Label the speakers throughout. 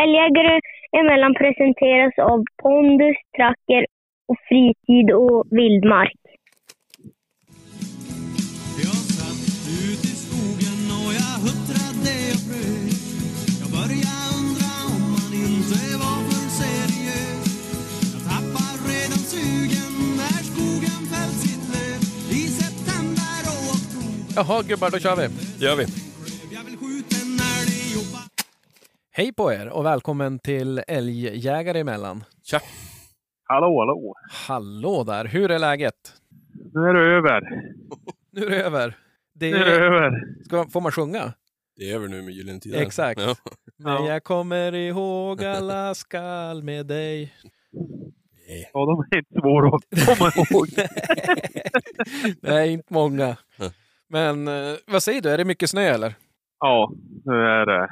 Speaker 1: Älgjägare emellan presenteras av pondus, tracker och fritid och vildmark.
Speaker 2: Jag satt ut i skogen och jag huttrade och frös Jag började undra om man inte var för seriös Jag tappar redan sugen när skogen fällt sitt löv I september och oktober
Speaker 3: Jaha gubbar, då kör vi.
Speaker 4: gör vi.
Speaker 2: Jag vill skjuta en älg och bara
Speaker 3: Hej på er och välkommen till Älgjägare emellan.
Speaker 4: Tja.
Speaker 5: Hallå, hallå.
Speaker 3: Hallå där, hur är läget?
Speaker 5: Nu är det över.
Speaker 3: Nu är det över. Det
Speaker 5: Nu är det över.
Speaker 3: Ska, får man sjunga?
Speaker 4: Det är över nu med Gyllene Tider.
Speaker 3: Exakt.
Speaker 4: Ja.
Speaker 3: Men jag kommer ihåg alla skall med dig.
Speaker 5: Ja, de är inte svåra att komma ihåg.
Speaker 3: Nej, inte många. Men eh, vad säger du, är det mycket snö eller?
Speaker 5: Ja, nu är det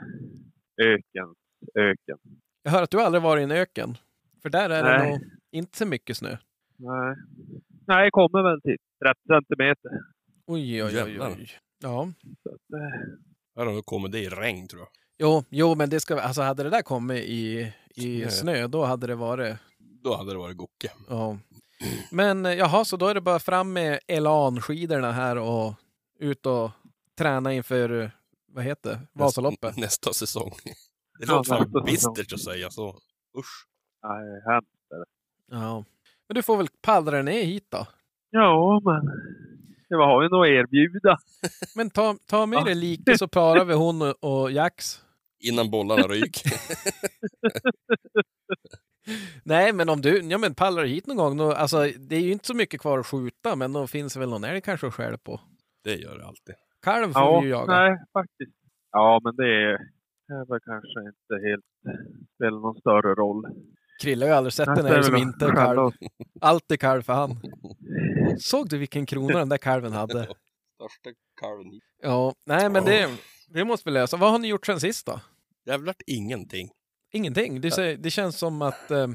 Speaker 5: öken. Öken.
Speaker 3: Jag hör att du aldrig varit i en öken. För där är det
Speaker 5: Nej.
Speaker 3: nog inte så mycket snö.
Speaker 5: Nej, Nej det kommer väl till 30 centimeter.
Speaker 3: Oj, oj, oj.
Speaker 4: Jävlar.
Speaker 3: oj. Ja.
Speaker 5: Så att, eh,
Speaker 4: Ja, då kommer det i regn tror jag.
Speaker 3: Jo, jo, men det ska, alltså, hade det där kommit i, i
Speaker 4: Snö.
Speaker 3: snö, då hade det varit...
Speaker 4: Då hade det varit Gocke.
Speaker 3: Ja. Men eh, jaha, så då är det bara fram med elanskidorna här och ut och träna inför, eh, vad heter det, Vasaloppet.
Speaker 4: Nästa, nästa säsong. Det
Speaker 5: Ja,
Speaker 4: låter fan
Speaker 5: nästa säsong.
Speaker 4: bistert att säga så. Usch.
Speaker 5: nej, hemskt.
Speaker 3: Ja. Men du får väl paddra ner hit då.
Speaker 5: ja, men det har vi nog att erbjuda.
Speaker 3: Men ta, ta med
Speaker 5: Ja.
Speaker 3: dig lite så parar vi hon och- och Jax.
Speaker 4: Innan bollarna ryk.
Speaker 3: Nej, men om du ja, men paddlar hit någon gång, då, alltså, det är ju inte så mycket kvar att skjuta, men då finns väl någon älg kanske att skära på.
Speaker 4: det gör det alltid.
Speaker 3: Kalv får
Speaker 5: Ja,
Speaker 3: vi ju jaga.
Speaker 5: nej, faktiskt. Ja, men det är, det är väl kanske inte helt spelar någon större roll.
Speaker 3: Krille har ju aldrig sett en
Speaker 5: Nästa är
Speaker 3: älg som
Speaker 5: väl
Speaker 3: inte är kalv. Allt är kalv för han. Såg du vilken krona den där kalven hade?
Speaker 4: Största kalven hit.
Speaker 3: Ja, nej men det, det måste vi lösa. Vad har ni gjort sen sist då?
Speaker 4: Jävlar ingenting.
Speaker 3: Ingenting. Det, sä- det känns som att eh,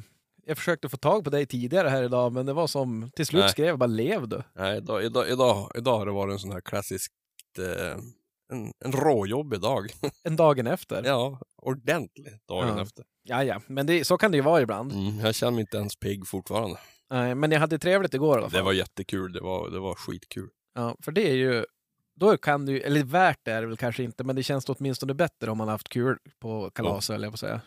Speaker 3: jag försökte få tag på dig tidigare här idag, men det var som till slut
Speaker 4: Nej.
Speaker 3: skrev jag bara lev du.
Speaker 4: Nej, idag, idag, idag, idag har det varit en sån här klassisk eh, en, en råjobbig dag.
Speaker 3: En dagen efter. Ja,
Speaker 4: Ja, ordentlig dagen
Speaker 3: Ja.
Speaker 4: efter.
Speaker 3: ja. Men det, så kan det ju vara ibland.
Speaker 4: Mm, jag känner mig inte ens pigg fortfarande.
Speaker 3: Nej, men jag hade trevligt igår i alla
Speaker 4: Det
Speaker 3: fall.
Speaker 4: var jättekul. Det var, det var skitkul.
Speaker 3: Ja, för det är ju, då kan du ju, eller värt är det väl kanske inte, men det känns åtminstone bättre om man har haft kul på kalas, eller jag på att säga.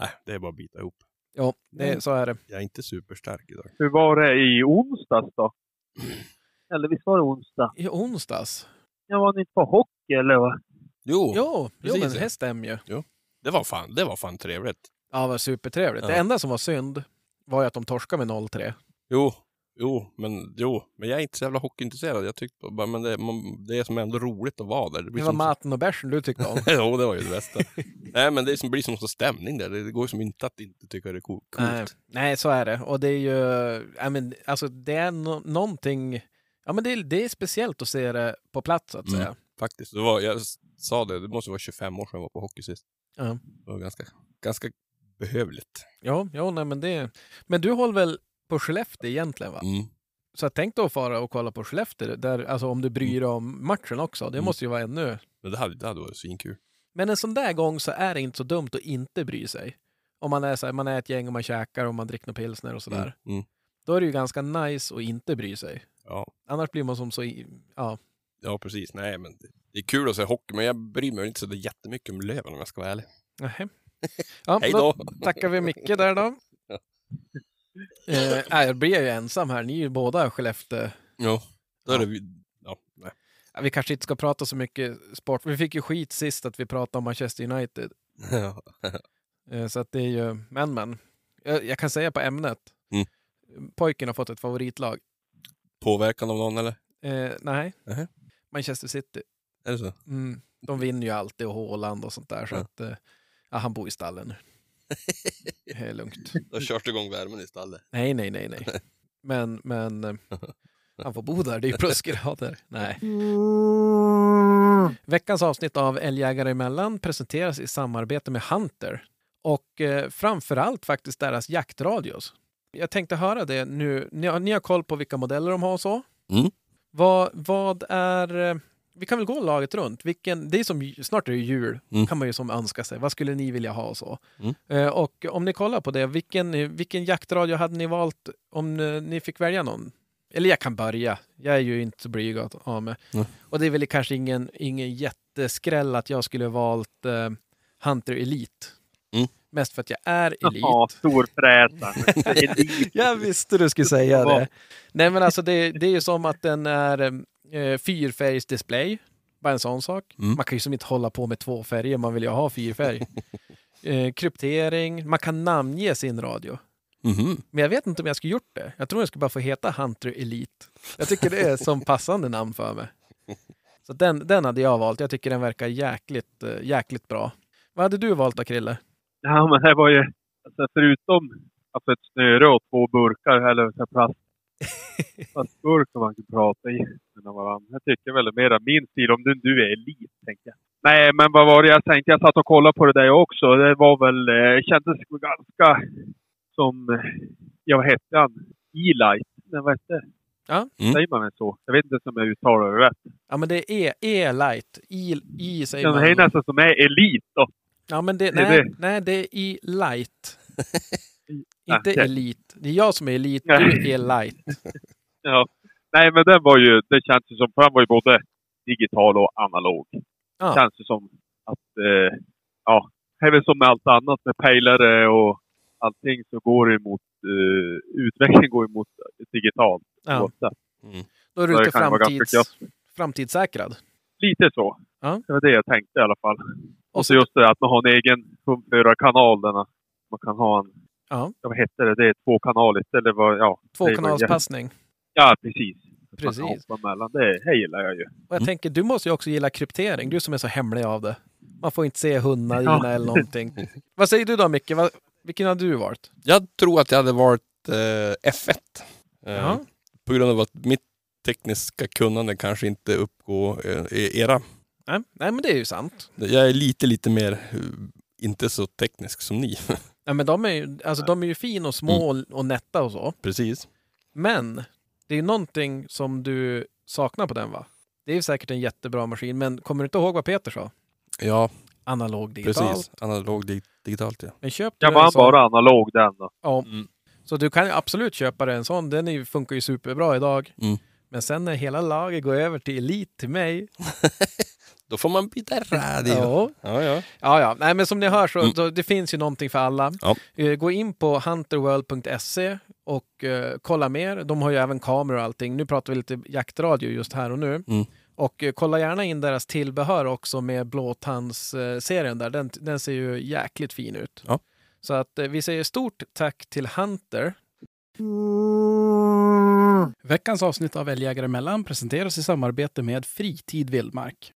Speaker 4: Nej, det är bara att bita ihop.
Speaker 3: Ja, det,
Speaker 4: Mm.
Speaker 3: så är det.
Speaker 4: Jag är inte superstark idag.
Speaker 5: Hur var det i onsdags då? Eller visst var det onsdag?
Speaker 3: I onsdags?
Speaker 5: Jag var ni inte på hockey eller? vad?
Speaker 4: Jo,
Speaker 3: Jo, jo
Speaker 4: Oh. precis,
Speaker 3: men
Speaker 4: ja.
Speaker 3: det stämmer ju.
Speaker 4: Det, var fan, det var fan trevligt.
Speaker 3: Ja, det var supertrevligt.
Speaker 4: Ja.
Speaker 3: Det enda som var synd var ju att de torskade med 0-3.
Speaker 4: Jo, jo, men, jo, men jag är inte så jävla hockeyintresserad. Jag tyckte bara, men det, man, det är som ändå roligt att vara där. blir
Speaker 3: Det var
Speaker 4: som-
Speaker 3: maten och bärsen du tyckte om.
Speaker 4: jo, det var ju det bästa. Nej, men det är som, blir som så stämning där. Det det går ju som inte att inte tycka det är cool- coolt.
Speaker 3: Nej, nej, så är det. Och det är ju, ja, men, alltså det är no- någonting, ja men det är, det är speciellt att se det på plats så att
Speaker 4: Mm.
Speaker 3: säga.
Speaker 4: Faktiskt. Det var, jag s- sa det, det måste vara 25 år sedan jag var på hockey sist.
Speaker 3: Ja.
Speaker 4: Det var ganska, ganska behövligt.
Speaker 3: Ja, ja nej, men det Men du håller väl på Skellefteå egentligen va?
Speaker 4: Mm.
Speaker 3: Så jag tänkte att fara och kolla på Skellefteå, där, alltså om du bryr dig om matchen också. Det
Speaker 4: Mm.
Speaker 3: måste ju vara ännu...
Speaker 4: Men det hade, det hade varit svinkul.
Speaker 3: Men en sån där gång så är det inte så dumt att inte bry sig. Om man är, så här, man är ett gäng och man käkar och man dricker några pilsner och sådär.
Speaker 4: Mm. Mm.
Speaker 3: Då är det ju ganska nice att inte bry sig.
Speaker 4: Ja.
Speaker 3: Annars blir man som så... i- Ja,
Speaker 4: ja, precis. Nej, men det, det är kul att se hockey, men jag bryr mig inte så jättemycket om Löven om jag ska vara ärlig.
Speaker 3: nähä. Ja,
Speaker 4: Hej då!
Speaker 3: tackar vi Micke där då. Eh, nej, jag blir ju ensam här. Ni är ju båda Skellefteå.
Speaker 4: Ja, då är det vi... Ja, nej.
Speaker 3: Ja, Vi kanske inte ska prata så mycket sport. Vi fick ju skit sist att vi pratade om Manchester United.
Speaker 4: Ja.
Speaker 3: Eh, Så att det är ju, men men. Jag, jag kan säga på ämnet.
Speaker 4: Mm.
Speaker 3: Pojken har fått ett favoritlag.
Speaker 4: Påverkan av någon eller?
Speaker 3: Eh, nej.
Speaker 4: Nähä.
Speaker 3: Manchester City.
Speaker 4: Är det så?
Speaker 3: Mm. De vinner ju alltid och Haaland och sånt där. Så
Speaker 4: Ja.
Speaker 3: att, eh, ja, han bor i stallen nu. Det är lugnt.
Speaker 4: Då körs det igång värmen i stallet.
Speaker 3: Nej, nej, nej, nej. Men, men eh, han får bo där. Det är ju plusgrader. Nej. Veckans avsnitt av Älgjägare emellan presenteras i samarbete med Hunter och eh, framförallt faktiskt deras jaktradios. Jag tänkte höra det nu. Ni har, ni har koll på vilka modeller de har och så.
Speaker 4: Mm.
Speaker 3: Vad, vad är... eh, vi kan väl gå laget runt. Vilken, det är som, snart är det jul,
Speaker 4: Mm.
Speaker 3: kan man ju som önska sig. Vad skulle ni vilja ha och så?
Speaker 4: Mm.
Speaker 3: Eh, och om ni kollar på det, vilken, vilken jaktradio hade ni valt om eh, ni fick välja någon? Eller jag kan börja, jag är ju inte så blyg att ha med.
Speaker 4: Nej.
Speaker 3: Och det är väl kanske ingen, ingen jätteskräll att jag skulle valt eh, Hunter Elite.
Speaker 4: Mm.
Speaker 3: Mest för att jag är elit.
Speaker 5: Ja, storfräsaren.
Speaker 3: Jag visste du skulle säga
Speaker 5: Ja.
Speaker 3: det. Nej men alltså det, det är ju som att den är eh, fyrfärgsdisplay. Bara en sån sak.
Speaker 4: Mm.
Speaker 3: Man kan ju som inte hålla på med två färger, man vill ju ha fyrfärg. eh, kryptering, man kan namnge sin radio.
Speaker 4: Mhm.
Speaker 3: Men jag vet inte om jag skulle gjort det. Jag tror jag skulle bara få heta Hunter Elite. Jag tycker det är som passande namn för mig. Så den, den hade jag valt. Jag tycker den verkar jäkligt, eh, jäkligt bra. Vad hade du valt då, Krille?
Speaker 5: Ja, men det var ju... Alltså, förutom alltså, ett snöre och två burkar, eller så här plast, plastburk som man kan prata i med varandra. Jag tycker väl mer att min stil, om du, du är elit, tänker jag. Nej, men vad var det jag tänkte? Jag satt och kollade på det där jag också. Det var väl... Eh, kändes ganska som... eh, Ja, vad hette han? E-light? Nej, vad hette
Speaker 3: Ja.
Speaker 4: Mm.
Speaker 5: Säger man väl så? Jag vet inte om jag uttalar det rätt.
Speaker 3: Ja men det är E- E-light. I, I säger
Speaker 5: Ja, men det är
Speaker 3: man.
Speaker 5: nästan som är elit då.
Speaker 3: Ja, men det,
Speaker 5: Det är
Speaker 3: nej,
Speaker 5: det.
Speaker 3: nej, det är i light. Inte
Speaker 5: Ah, okej.
Speaker 3: elit. Det är jag som är elit,
Speaker 5: Nej.
Speaker 3: du är light.
Speaker 5: Ja. Nej, men den var ju, det känns ju som, för den var ju både digital och analog.
Speaker 3: Ja.
Speaker 5: Det känns ju som att, eh, ja, det är väl som med allt annat med pejlare och allting så går det emot, eh, utvecklingen går emot digitalt.
Speaker 3: Ja.
Speaker 5: oavsett.
Speaker 3: Då är du
Speaker 5: Så det
Speaker 3: lite
Speaker 5: kan vara ganska
Speaker 3: framtids, framtidssäkrad.
Speaker 5: Lite så.
Speaker 3: Ja.
Speaker 5: Det var det jag tänkte i alla fall.
Speaker 3: Och
Speaker 5: Och
Speaker 3: så-
Speaker 5: så just det att man har en egen pumpförarkanal. där Man man kan ha en,
Speaker 3: Ja.
Speaker 5: vad hette det, det är två kanaler istället. Vad, ja,
Speaker 3: Tvåkanalspassning.
Speaker 5: ja, precis. Man kan
Speaker 3: Precis.
Speaker 5: hoppa mellan. Det, det gillar jag ju.
Speaker 3: Och jag
Speaker 4: Mm.
Speaker 3: tänker, du måste ju också gilla kryptering, du som är så hemlig av det. Man får inte se hundar
Speaker 5: Ja.
Speaker 3: dina eller någonting. Vad säger du då Micke? Vad, vilken har du varit?
Speaker 4: Jag tror att jag hade varit eh, F1. Eh,
Speaker 3: Ja.
Speaker 4: På grund av att mitt tekniska kunnande kanske inte uppgår eh, era.
Speaker 3: Nej, nej, men det är ju sant.
Speaker 4: Jag är lite, lite mer, eh, inte så teknisk som ni.
Speaker 3: Nej, men de är ju, alltså, de är ju fin och små
Speaker 4: Mm.
Speaker 3: och- och nätta och så.
Speaker 4: Precis.
Speaker 3: Men det är ju någonting som du saknar på den va? Det är ju säkert en jättebra maskin, men kommer du inte ihåg vad Peter sa?
Speaker 4: Ja,
Speaker 3: Analog digital.
Speaker 4: precis. Analog dig- digitalt ja.
Speaker 3: Men köp du
Speaker 5: Jag var
Speaker 3: en
Speaker 5: han
Speaker 3: sån,
Speaker 5: bara analog den då?
Speaker 3: Ja.
Speaker 4: Mm.
Speaker 3: Så du kan ju absolut köpa dig en sån. Den är, ju- funkar ju superbra idag.
Speaker 4: Mm.
Speaker 3: Men sen när hela laget går över till Elite till mig.
Speaker 4: Då får man byta radio. Ja, ja.
Speaker 3: Ja.
Speaker 4: ja.
Speaker 3: ja, ja. Nej, men som ni hör så,
Speaker 4: Mm.
Speaker 3: så det finns ju någonting för alla.
Speaker 4: Ja.
Speaker 3: Eh, Gå in på hunterworld.se och eh, kolla mer. De har ju även kameror och allting. Nu pratar vi lite jaktradio just här och nu.
Speaker 4: Mm.
Speaker 3: Och eh, kolla gärna in deras tillbehör också med blåtandsserien där. Den, den ser ju jäkligt fin ut.
Speaker 4: Ja.
Speaker 3: Så att eh, vi säger stort tack till Hunter.
Speaker 6: Veckans avsnitt av Älgjägare emellan presenteras i samarbete med Fritid Vildmark.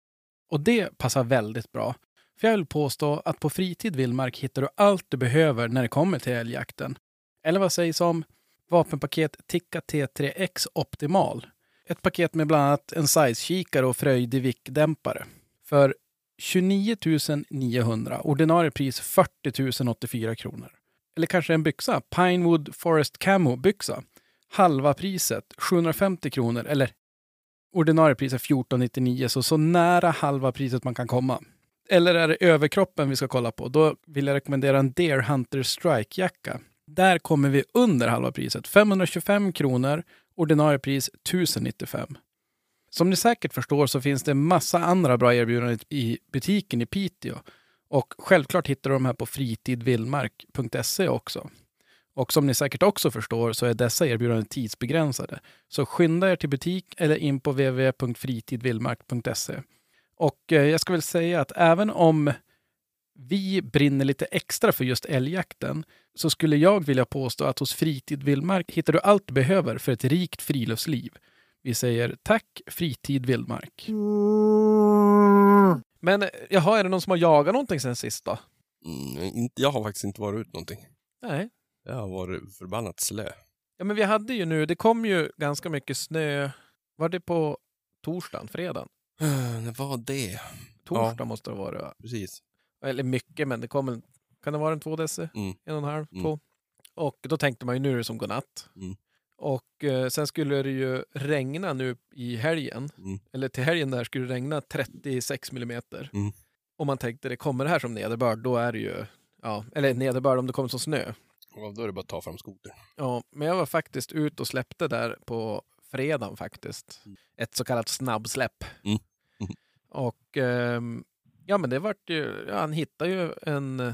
Speaker 6: Och det passar väldigt bra. För jag vill påstå att på Fritid Vildmark hittar du allt du behöver när det kommer till älgjakten. Eller vad sägs om vapenpaket Tikka T3X Optimal? Ett paket med bland annat en size-kikare och fröjdig vickdämpare. För 29 900, ordinarie pris 40 084 kronor. Eller kanske en byxa, Pinewood Forest Camo-byxa halva priset, 750 kronor, eller ordinarie pris är 1499, så så nära halva priset man kan komma. Eller är det överkroppen vi ska kolla på? Då vill jag rekommendera en Deer Hunter Strike-jacka. Där kommer vi under halva priset, 525 kronor, ordinarie pris 1095. Som ni säkert förstår så finns det massa andra bra erbjudanden i butiken i Piteå. Och självklart hittar du de här på fritidvillmark.se också. Och som ni säkert också förstår så är dessa erbjudanden tidsbegränsade. Så skynda er till butik eller in på www.fritidvillmark.se. Och eh, jag ska väl säga att även om vi brinner lite extra för just älgjakten så skulle jag vilja påstå att hos Fritid Vildmark hittar du allt du behöver för ett rikt friluftsliv. Vi säger tack Fritid Vildmark.
Speaker 3: Men eh, jaha, är det någon som har jagat någonting sen sist då?
Speaker 4: Mm, inte- jag har faktiskt inte varit ut någonting.
Speaker 3: Nej.
Speaker 4: Jag har varit förbannat slö.
Speaker 3: Ja, men vi hade ju nu, det kom ju ganska mycket snö. Var det på torsdagen, fredagen?
Speaker 4: Eh, Vad var det?
Speaker 3: Torsdag måste det vara. va?
Speaker 4: Precis.
Speaker 3: Eller mycket, men det kom en, kan det vara en två deci?
Speaker 4: Mm.
Speaker 3: En och en halv,
Speaker 4: Mm.
Speaker 3: två? Och då tänkte man ju nu är det som godnatt.
Speaker 4: Mm.
Speaker 3: Och eh, sen skulle det ju regna nu i helgen.
Speaker 4: Mm.
Speaker 3: Eller till helgen där skulle det regna 36 millimeter.
Speaker 4: Mm.
Speaker 3: Och man tänkte, det kommer det här som nederbörd, då är det ju... Ja, eller nederbörd om det kommer som snö.
Speaker 4: Ja, då är det bara att ta fram skotern.
Speaker 3: Ja, men jag var faktiskt ut och släppte där på fredagen faktiskt. Ett så kallat snabbsläpp.
Speaker 4: Mm.
Speaker 3: Och ehm, ja, men det vart ju, ja, han hittade ju en,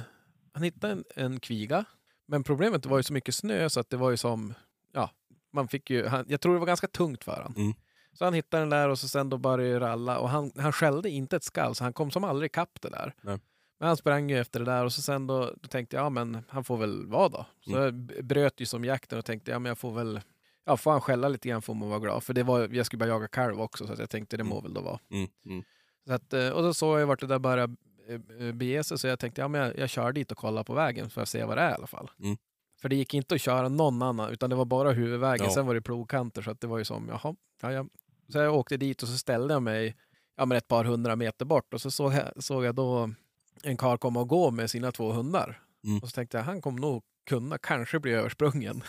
Speaker 3: han hittade en, en kviga. Men problemet var ju så mycket snö så att det var ju som, ja, man fick ju, han, jag tror det var ganska tungt för han.
Speaker 4: Mm.
Speaker 3: Så han hittade den där och så sen då började det ralla och han, han skällde inte ett skall så han kom som aldrig ikapp det där.
Speaker 4: Nej.
Speaker 3: Men han sprang ju efter det där och så sen då, då tänkte jag, ja men han får väl vara då. Så jag b- bröt ju som jakten och tänkte, ja men jag får väl, ja får han skälla lite grann får man vara glad. För det var, jag skulle bara jaga kalv också så att jag tänkte det må väl då vara.
Speaker 4: Mm. Mm.
Speaker 3: Så att, eh, och då såg jag ju vart det där började eh, bege sig så jag tänkte, ja men jag, jag kör dit och kollar på vägen för att se vad det är i alla fall.
Speaker 4: Mm.
Speaker 3: För det gick inte att köra någon annan utan det var bara huvudvägen,
Speaker 4: Ja.
Speaker 3: sen var det plogkanter så att det var ju som, jaha, ja, ja. Så jag åkte dit och så ställde jag mig ja, men ett par hundra meter bort och så såg jag, såg jag då en karl komma och gå med sina två hundar.
Speaker 4: Mm.
Speaker 3: Och så tänkte jag, han kommer nog kunna kanske bli översprungen.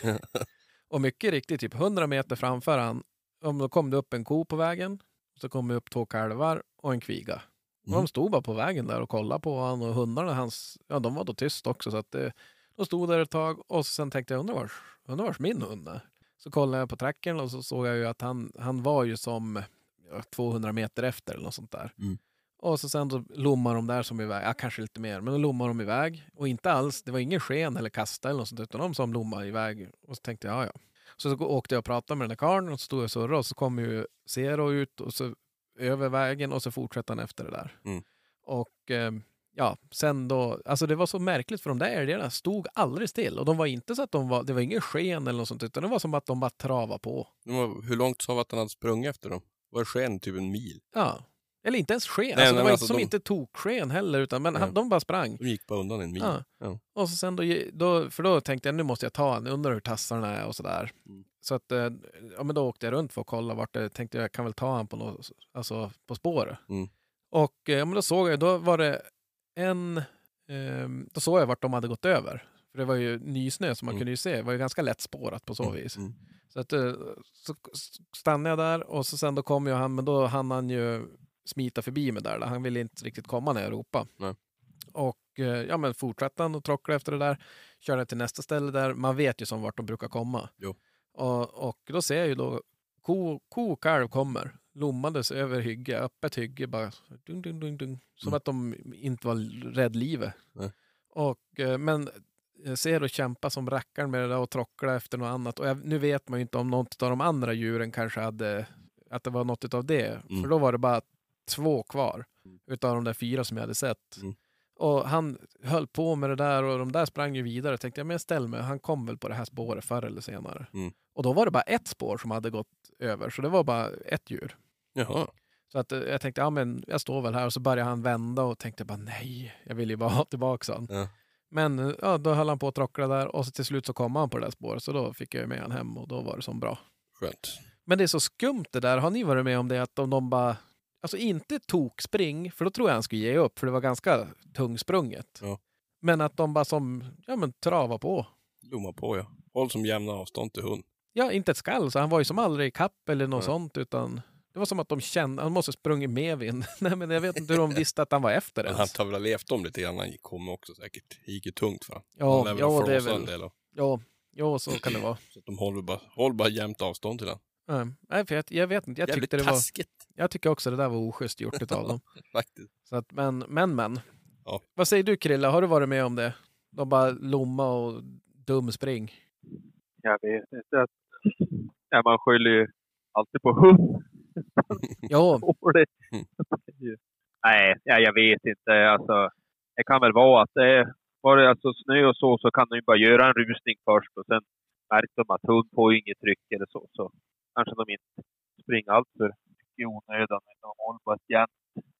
Speaker 3: och mycket riktigt, typ 100 meter framför han, om då kom det upp en ko på vägen, så kom det upp två kalvar och en kviga. Och
Speaker 4: Mm.
Speaker 3: de stod bara på vägen där och kollade på honom och hundarna hans, ja de var då tyst också så att det, de stod där ett tag och sen tänkte jag undrar vars, undrar vars min hund är. Så kollade jag på tracken och så såg jag ju att han, han var ju som ja, 200 meter efter eller något sånt där.
Speaker 4: Mm.
Speaker 3: Och så sen då lommar de där som iväg, ja kanske lite mer, men då lommar de iväg och inte alls, det var ingen sken eller kasta eller något sånt utan de som lommade iväg och så tänkte jag ja ja. Så, så åkte jag och pratade med den där karln och så stod jag och surrade och så kom ju Zero ut och så över vägen och så fortsatte han efter det där.
Speaker 4: Mm.
Speaker 3: Och eh, ja, sen då, alltså det var så märkligt för de där älgarna stod aldrig still och de var inte så att de var, det var ingen sken eller något sånt utan det var som att de bara travade på.
Speaker 4: Men vad- Hur långt sa vi att han hade sprungit efter dem? Var sken typ en mil?
Speaker 3: Ja. Eller inte ens sken,
Speaker 4: nej,
Speaker 3: alltså, det
Speaker 4: men
Speaker 3: var
Speaker 4: alltså
Speaker 3: inte som
Speaker 4: de-
Speaker 3: inte toksken heller utan men
Speaker 4: Nej.
Speaker 3: han, de bara sprang.
Speaker 4: De gick bara undan en mil.
Speaker 3: Ja.
Speaker 4: Ja.
Speaker 3: Och så sen då, då, för då tänkte jag nu måste jag ta en, undrar hur tassarna är och sådär.
Speaker 4: Mm.
Speaker 3: Så att, eh, ja men då åkte jag runt för att kolla vart det, tänkte jag jag kan väl ta han på något, alltså på spåret.
Speaker 4: Mm.
Speaker 3: Och eh, ja, men då såg jag, då var det en, ehm, då såg jag vart de hade gått över. För det var ju nysnö så man
Speaker 4: Mm.
Speaker 3: kunde ju se, det var ju ganska lätt spårat på så vis.
Speaker 4: Mm.
Speaker 3: Så, att, eh, så stannade jag där och så sen då kom ju han, men då hann han ju smita förbi mig där. då. Han ville inte riktigt komma när jag ropade.
Speaker 4: Nej.
Speaker 3: Och eh, ja, men fortsatte han och tråcklade efter det där. Körde till nästa ställe där. Man vet ju som vart de brukar komma.
Speaker 4: Jo.
Speaker 3: Och, och då ser jag ju då ko, ko och kalv kommer. Lommades över hygge, öppet hygge bara. Dung, dung, dung, dung. Som
Speaker 4: Mm.
Speaker 3: att de inte var rädd livet.
Speaker 4: Nej.
Speaker 3: Och, eh, men jag ser och kämpa som rackaren med det där och trockla efter något annat. Och jag, nu vet man ju inte om något av de andra djuren kanske hade, att det var något av det.
Speaker 4: Mm.
Speaker 3: För då var det bara två kvar utav de där fyra som jag hade sett.
Speaker 4: Mm.
Speaker 3: Och han höll på med det där och de där sprang ju vidare. Tänkte jag, men jag ställer mig, han kom väl på det här spåret förr eller senare.
Speaker 4: Mm.
Speaker 3: Och då var det bara ett spår som hade gått över, så det var bara ett djur.
Speaker 4: Jaha.
Speaker 3: Så att eh, jag tänkte, ja men jag står väl här och så började han vända och tänkte bara nej, jag vill ju bara ha tillbaka honom.
Speaker 4: Ja.
Speaker 3: Men eh, ja, då höll han på att trockla där och så till slut så kom han på det där spåret så då fick jag ju med han hem och då var det som bra.
Speaker 4: Skönt.
Speaker 3: Men det är så skumt det där, har ni varit med om det att om de bara, alltså inte tokspring, för då tror jag han skulle ge upp för det var ganska tungsprunget.
Speaker 4: Ja.
Speaker 3: Men att de bara som, ja men trava på.
Speaker 4: Lomma på ja. Håll som jämna avstånd till hund.
Speaker 3: Ja, inte ett skall, så han var ju som aldrig i kapp eller något
Speaker 4: Nej.
Speaker 3: sånt utan det var som att de kände, han måste ha sprungit med vind. Nej men jag vet inte hur de visste att han var efter
Speaker 4: Men han
Speaker 3: ens.
Speaker 4: har väl levt om lite grann när han kom också säkert. Det gick ju tungt för han. han lär väl ha
Speaker 3: Ja, ja det är
Speaker 4: frosat en
Speaker 3: väl,
Speaker 4: del av-
Speaker 3: ja, ja så kan det vara.
Speaker 4: Så att de håller bara, håll bara jämnt avstånd till honom.
Speaker 3: Nej, Nej, för jag, jag vet inte, jag tyckte det var,
Speaker 4: taskigt
Speaker 3: jag tycker också det där var oschysst gjort utav dem.
Speaker 4: faktiskt.
Speaker 3: Så att, men, men, men.
Speaker 4: Ja.
Speaker 3: Vad säger du Krilla, har du varit med om det? De bara lomma och dumspring.
Speaker 5: Jag vet inte. Att, ja, man skyller ju alltid på hund.
Speaker 3: Ja,
Speaker 5: Får det.
Speaker 4: Mm.
Speaker 5: Nej, ja, jag vet inte. Alltså, det kan väl vara att det är, var det alltså snö och så, så kan de ju bara göra en rusning först och sen märker de att hund får ju inget tryck eller så. Så kanske de inte springer allt för mycket i onödan. utan De håller bara ett jämnt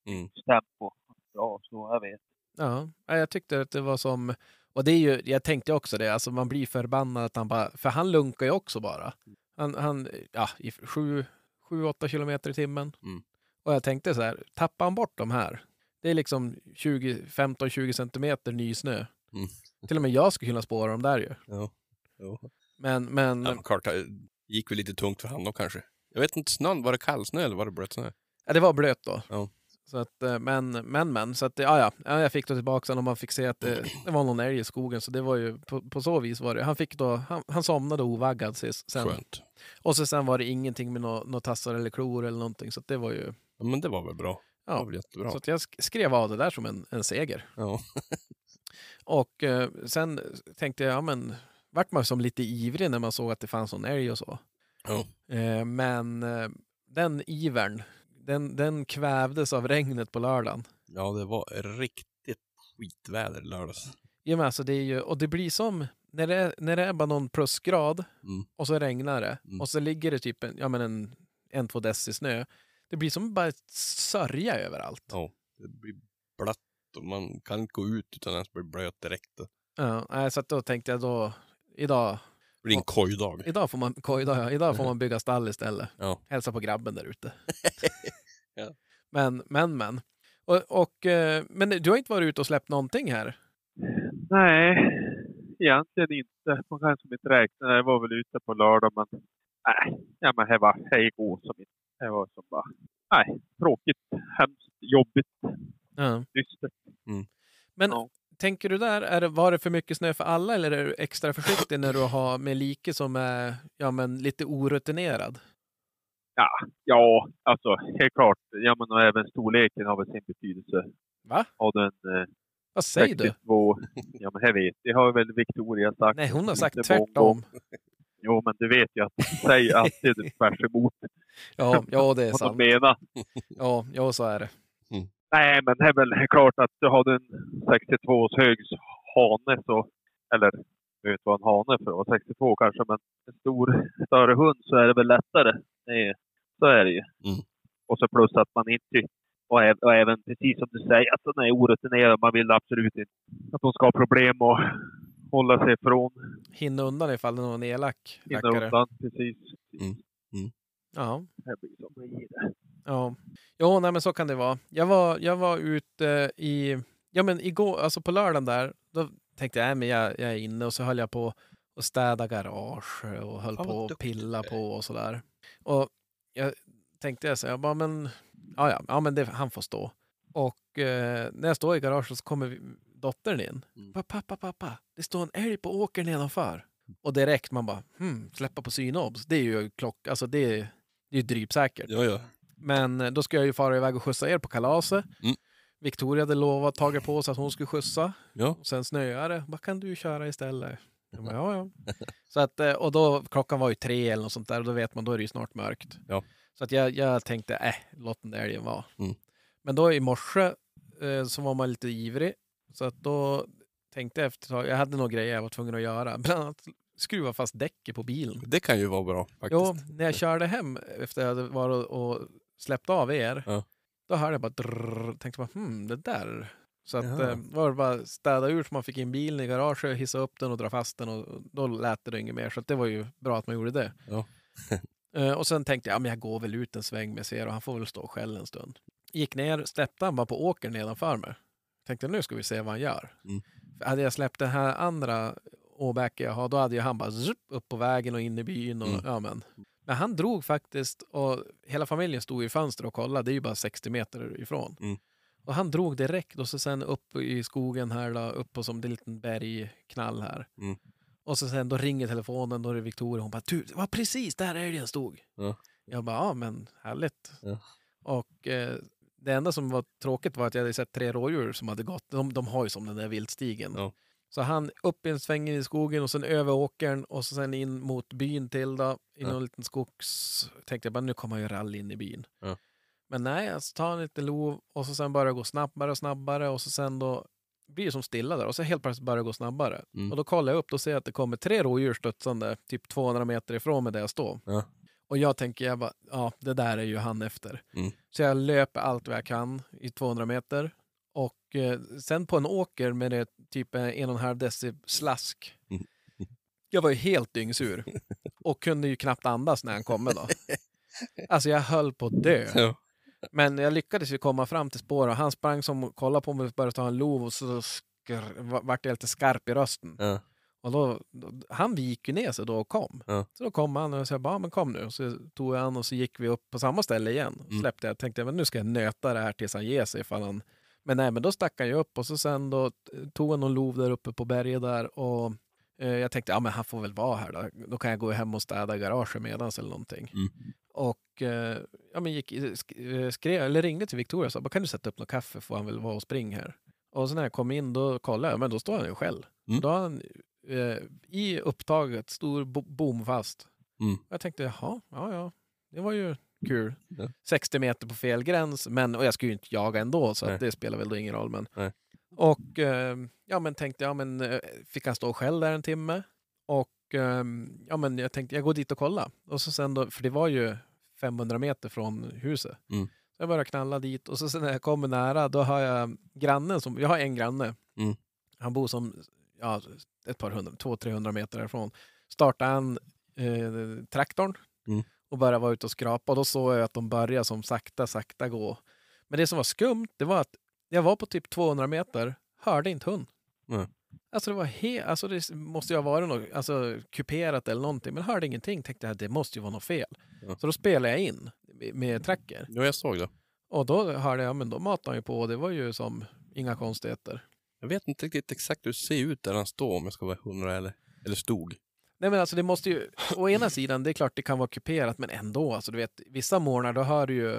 Speaker 4: Mm.
Speaker 5: tempo. Ja, så jag vet.
Speaker 3: ja. Nej, jag tyckte att det var som, och det är ju, jag tänkte också det, alltså man blir förbannad att han bara, för han lunkar ju också bara. Han, han ja, i sju, sju, åtta kilometer i timmen.
Speaker 4: Mm.
Speaker 3: Och jag tänkte så här, tappar han bort de här, det är liksom 20, 15-20 centimeter ny snö.
Speaker 4: Mm.
Speaker 3: Till och med jag skulle kunna spåra dem där ju.
Speaker 4: Ja. Ja.
Speaker 3: Men, men,
Speaker 4: Ja, men klart, Gick väl lite tungt för han då kanske. Jag vet inte, snön, var det kallsnö eller var det blötsnö?
Speaker 3: Ja, det var blöt då.
Speaker 4: Ja.
Speaker 3: Så att, eh, men, men, men. Så att, ja, ja. ja, jag fick då tillbaka den och man fick se att
Speaker 4: Mm.
Speaker 3: det, det var någon älg i skogen. Så det var ju, på, på så vis var det. Han, fick då, han, han somnade ovaggad sist. Sen.
Speaker 4: Skönt.
Speaker 3: Och så sen var det ingenting med några tassar eller klor eller någonting. Så att det var ju...
Speaker 4: Ja, men det var väl bra. Det var
Speaker 3: Ja.
Speaker 4: väl jättebra.
Speaker 3: Så att jag sk- skrev av det där som en, en seger.
Speaker 4: Ja.
Speaker 3: Och eh, sen tänkte jag, ja men, vart man som lite ivrig när man såg att det fanns någon älg och så.
Speaker 4: Ja.
Speaker 3: Eh, men eh, den ivern, den, den kvävdes av regnet på lördagen.
Speaker 4: ja, det var riktigt skitväder i lördags.
Speaker 3: Ja, men alltså det är ju, och det blir som när det, är- när det är bara någon plusgrad
Speaker 4: Mm.
Speaker 3: och så regnar det
Speaker 4: Mm.
Speaker 3: och så ligger det typ en, ja, men en, en två deci snö. Det blir som bara ett sörja överallt.
Speaker 4: Det blir blött och man kan inte gå ut utan att bli blöt direkt. Det
Speaker 3: Ja, nej, så att då tänkte jag då, idag,
Speaker 4: blir en kojdag.
Speaker 3: idag, får, man, ko- idag, ja, idag får man bygga stall istället.
Speaker 4: Ja.
Speaker 3: Hälsa på grabben där ute.
Speaker 4: Ja.
Speaker 3: Men, men, men. Och, och, eh, men du har inte varit ute och släppt någonting här?
Speaker 5: Nej, egentligen inte. Man kan som inte räkna. Jag var väl ute på lördag, men nej. Ja, men det var hej gå som inte. Det var som bara, nej, tråkigt, hemskt, jobbigt,
Speaker 3: Ja.
Speaker 5: dystert.
Speaker 3: Mm. Men
Speaker 5: Ja.
Speaker 3: tänker du där, är det, var det för mycket snö för alla eller är du extra försiktig när du har med like som är ja, men lite orutinerad?
Speaker 5: Ja, alltså helt klart. Ja, men och även storleken har väl sin betydelse.
Speaker 3: Va?
Speaker 5: Har den eh,
Speaker 3: Vad säger du?
Speaker 5: 62... Ja, men jag vet. Det har väl Victoria sagt.
Speaker 3: Nej, hon har sagt
Speaker 5: Inte Bongo.
Speaker 3: tvärtom.
Speaker 5: Jo, men du vet ju att säg alltid tvärs emot
Speaker 3: Ja, ja, det är
Speaker 5: vad de
Speaker 3: sant.
Speaker 5: menar.
Speaker 3: Ja, ja, så är det.
Speaker 5: Nej, men det är väl klart att du har en 62 års högs hane så... Eller, jag vet vad en hane för att vara 62 kanske, men en stor, större hund så är det väl lättare. Nej, så är det ju.
Speaker 4: Mm.
Speaker 5: Och så plus att man inte... Och, ä- och även precis som du säger, att den är orutinerad. Man vill absolut inte att de ska ha problem och hålla sig ifrån.
Speaker 3: Hinna undan ifall det är någon elak
Speaker 5: Hinna
Speaker 3: rackare.
Speaker 5: undan, precis.
Speaker 3: Ja,
Speaker 5: Det blir som det blir.
Speaker 3: ja. Jo, nej, men så kan det vara. Jag var, jag var ute eh, i, ja men igår, alltså på lördagen där, då tänkte jag, nej men jag, jag är inne och så höll jag på och städa garage och höll
Speaker 4: Fan, vad
Speaker 3: på och
Speaker 4: duktig
Speaker 3: pilla
Speaker 4: du är.
Speaker 3: på och sådär. Och jag tänkte jag så här, jag bara, men, ja, ja, ja men det, han får stå. Och eh, när jag står i garaget så kommer vi- dottern in.
Speaker 4: Mm.
Speaker 3: Bara, pappa, pappa, det står en älg på åkern nedanför. Och direkt man bara, hmm, släppa på synobs, det är ju klock, alltså det, är- det är ju drypsäkert.
Speaker 4: Ja, ja.
Speaker 3: Men eh, då ska jag ju fara iväg och skjutsa er på kalaset.
Speaker 4: Mm.
Speaker 3: Victoria hade lovat, tagit på sig att hon skulle skjutsa.
Speaker 4: Ja.
Speaker 3: Och sen snöade det. Vad kan du köra istället? Jag bara, ja, ja. Så att, eh, och då, klockan var ju tre eller något sånt där och då vet man, då är det ju snart mörkt.
Speaker 4: Ja.
Speaker 3: Så att jag, jag tänkte, eh, låt den där älgen vara.
Speaker 4: Mm.
Speaker 3: Men då i morse eh, så var man lite ivrig. Så att då tänkte jag efter ett tag, jag hade några grejer jag var tvungen att göra. Bland annat skruva fast däcket på bilen.
Speaker 4: Det kan ju vara bra faktiskt.
Speaker 3: Jo, när jag körde hem efter att jag hade varit och och släppt av er,
Speaker 4: Ja.
Speaker 3: då hörde jag bara drrrr, tänkte bara hmm, det där. Så att,
Speaker 4: Jaha.
Speaker 3: eh, var det bara att städa ur så man fick in bilen i garaget, hissa upp den och dra fast den och och då lät det inget mer. Så att det var ju bra att man gjorde det.
Speaker 4: Ja.
Speaker 3: Eh, och sen tänkte jag, ja, men jag går väl ut en sväng med Zero, han får väl stå själv en stund. Gick ner, släppte han bara på åkern nedanför mig. Tänkte nu ska vi se vad han gör.
Speaker 4: Mm.
Speaker 3: För hade jag släppt den här andra åbäke jag har, då hade ju han bara zup, upp på vägen och in i byn. Och,
Speaker 4: Mm.
Speaker 3: ja, men. men han drog faktiskt och hela familjen stod i fönster och kollade, det är ju bara 60 meter ifrån.
Speaker 4: Mm.
Speaker 3: Och han drog direkt och så sen upp i skogen här, då, upp på som det är en liten bergknall här.
Speaker 4: Mm.
Speaker 3: Och så sen då ringer telefonen, då är det Victoria, hon bara du, det var precis där älgen stod.
Speaker 4: Ja.
Speaker 3: Jag bara, ja men härligt.
Speaker 4: Ja.
Speaker 3: Och eh, det enda som var tråkigt var att jag hade sett tre rådjur som hade gått. De, de har ju som den där viltstigen.
Speaker 4: Ja.
Speaker 3: Så han upp i en sväng in i skogen och sen över åkern och så sen in mot byn till då, i
Speaker 4: Ja.
Speaker 3: någon liten skogs... Tänkte jag bara nu kommer han ju rally in i byn.
Speaker 4: Ja.
Speaker 3: Men nej, alltså tar han lite lov och så sen börjar det gå snabbare och snabbare och så sen då blir det som stilla där och så helt plötsligt börjar det gå snabbare.
Speaker 4: Mm.
Speaker 3: Och då kollar jag upp och ser jag att det kommer tre rådjur studsande typ 200 meter ifrån mig där jag står.
Speaker 4: Ja.
Speaker 3: Och jag tänker, jag bara, ja det där är ju han efter.
Speaker 4: Mm.
Speaker 3: Så jag löper allt vad jag kan i 200 meter. Och eh, sen på en åker med det typ eh, en och en halv deci slask.
Speaker 4: Mm.
Speaker 3: Jag var ju helt dyngsur. Och kunde ju knappt andas när han kom då. Alltså jag höll på att dö.
Speaker 4: Ja.
Speaker 3: Men jag lyckades ju komma fram till spåret och han sprang som och kollade på mig och började ta en lov och så skr- va- vart jag lite skarp i rösten.
Speaker 4: Ja.
Speaker 3: Och då, då, han vik ju ner sig då och kom.
Speaker 4: Ja.
Speaker 3: Så då kom han och jag sa bara, "Ja, men kom nu. Så tog jag han och så gick vi upp på samma ställe igen.
Speaker 4: Mm.
Speaker 3: Släppte jag, tänkte men nu ska jag nöta det här tills han ger sig. Ifall han... Men nej, men då stack han ju upp och så sen då eh, tog han någon lov där uppe på berget där och eh, jag tänkte, ja men han får väl vara här då. Då kan jag gå hem och städa garaget medans eller någonting.
Speaker 4: Mm.
Speaker 3: Och eh, ja, men gick, sk- eh, skrev, eller ringde till Victoria och sa, "Bara, kan du sätta upp något kaffe får han väl vara och spring här. Och så när jag kom in då kollade jag, men då står han ju själv.
Speaker 4: Mm.
Speaker 3: Då har han eh, i upptaget, stor bo- bomfast.
Speaker 4: Mm.
Speaker 3: Jag tänkte, jaha, ja, ja, det var ju kul.
Speaker 4: Ja.
Speaker 3: 60 meter på fel gräns, men, och jag skulle ju inte jaga ändå, så
Speaker 4: Nej.
Speaker 3: att det spelar väl då ingen roll. Men,
Speaker 4: Nej.
Speaker 3: och eh, ja, men tänkte, ja, men eh, fick han stå själv där en timme? Och eh, ja, men jag tänkte, jag går dit och kollar. Och så sen då, för det var ju 500 meter från huset.
Speaker 4: Mm.
Speaker 3: Så jag bara knalla dit och så sen när jag kommer nära, då har jag grannen som, jag har en granne.
Speaker 4: Mm.
Speaker 3: Han bor som, ja, ett par hundra, två, 300 meter därifrån. Startade han eh, traktorn
Speaker 4: Mm.
Speaker 3: och började vara ute och skrapa. Och då såg jag att de började som sakta, sakta gå. Men det som var skumt, det var att jag var på typ 200 meter, hörde inte hund.
Speaker 4: Nej.
Speaker 3: Alltså det var helt, alltså det måste ju ha varit något, alltså kuperat eller någonting, men hörde ingenting. Tänkte jag, det måste ju vara något fel.
Speaker 4: Ja.
Speaker 3: Så då spelade jag in med tracker.
Speaker 4: Jo, jag såg det.
Speaker 3: Och då hörde jag, men då matade han ju på och det var ju som inga konstigheter.
Speaker 4: Jag vet inte riktigt exakt hur det ser ut där han står, om jag ska vara hundra eller, eller stod.
Speaker 3: Nej men alltså det måste ju, å ena sidan, det är klart det kan vara kuperat, men ändå, alltså du vet, vissa morgnar då hör du ju,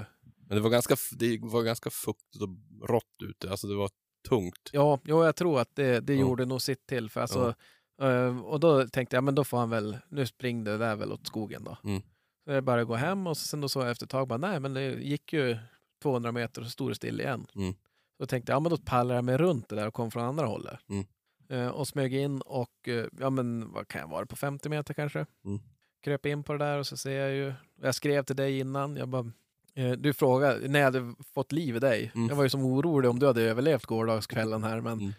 Speaker 4: Men det var ganska, f- det var ganska fuktigt och rått ute. Alltså det var tungt.
Speaker 3: ja, jo, jag tror att det, det
Speaker 4: Ja.
Speaker 3: gjorde nog sitt till, för alltså, eh, och då tänkte jag, men då får han väl, nu spring det där väl åt skogen då.
Speaker 4: Mm.
Speaker 3: Så jag bara gå hem och sen då såg jag efter ett tag, bara, nej men det gick ju 200 meter och så stod det still igen.
Speaker 4: Mm.
Speaker 3: Så tänkte jag, ja men då pallar jag mig runt det där och kom från andra hållet.
Speaker 4: Mm.
Speaker 3: Eh, och smög in och, eh, ja men vad kan jag vara på 50 meter kanske?
Speaker 4: Mm.
Speaker 3: Kröp in på det där och så ser jag ju, jag skrev till dig innan, jag bara, eh, du frågade när jag hade fått liv i dig.
Speaker 4: Mm.
Speaker 3: Jag var ju som orolig om du hade överlevt gårdagskvällen här men
Speaker 4: Mm.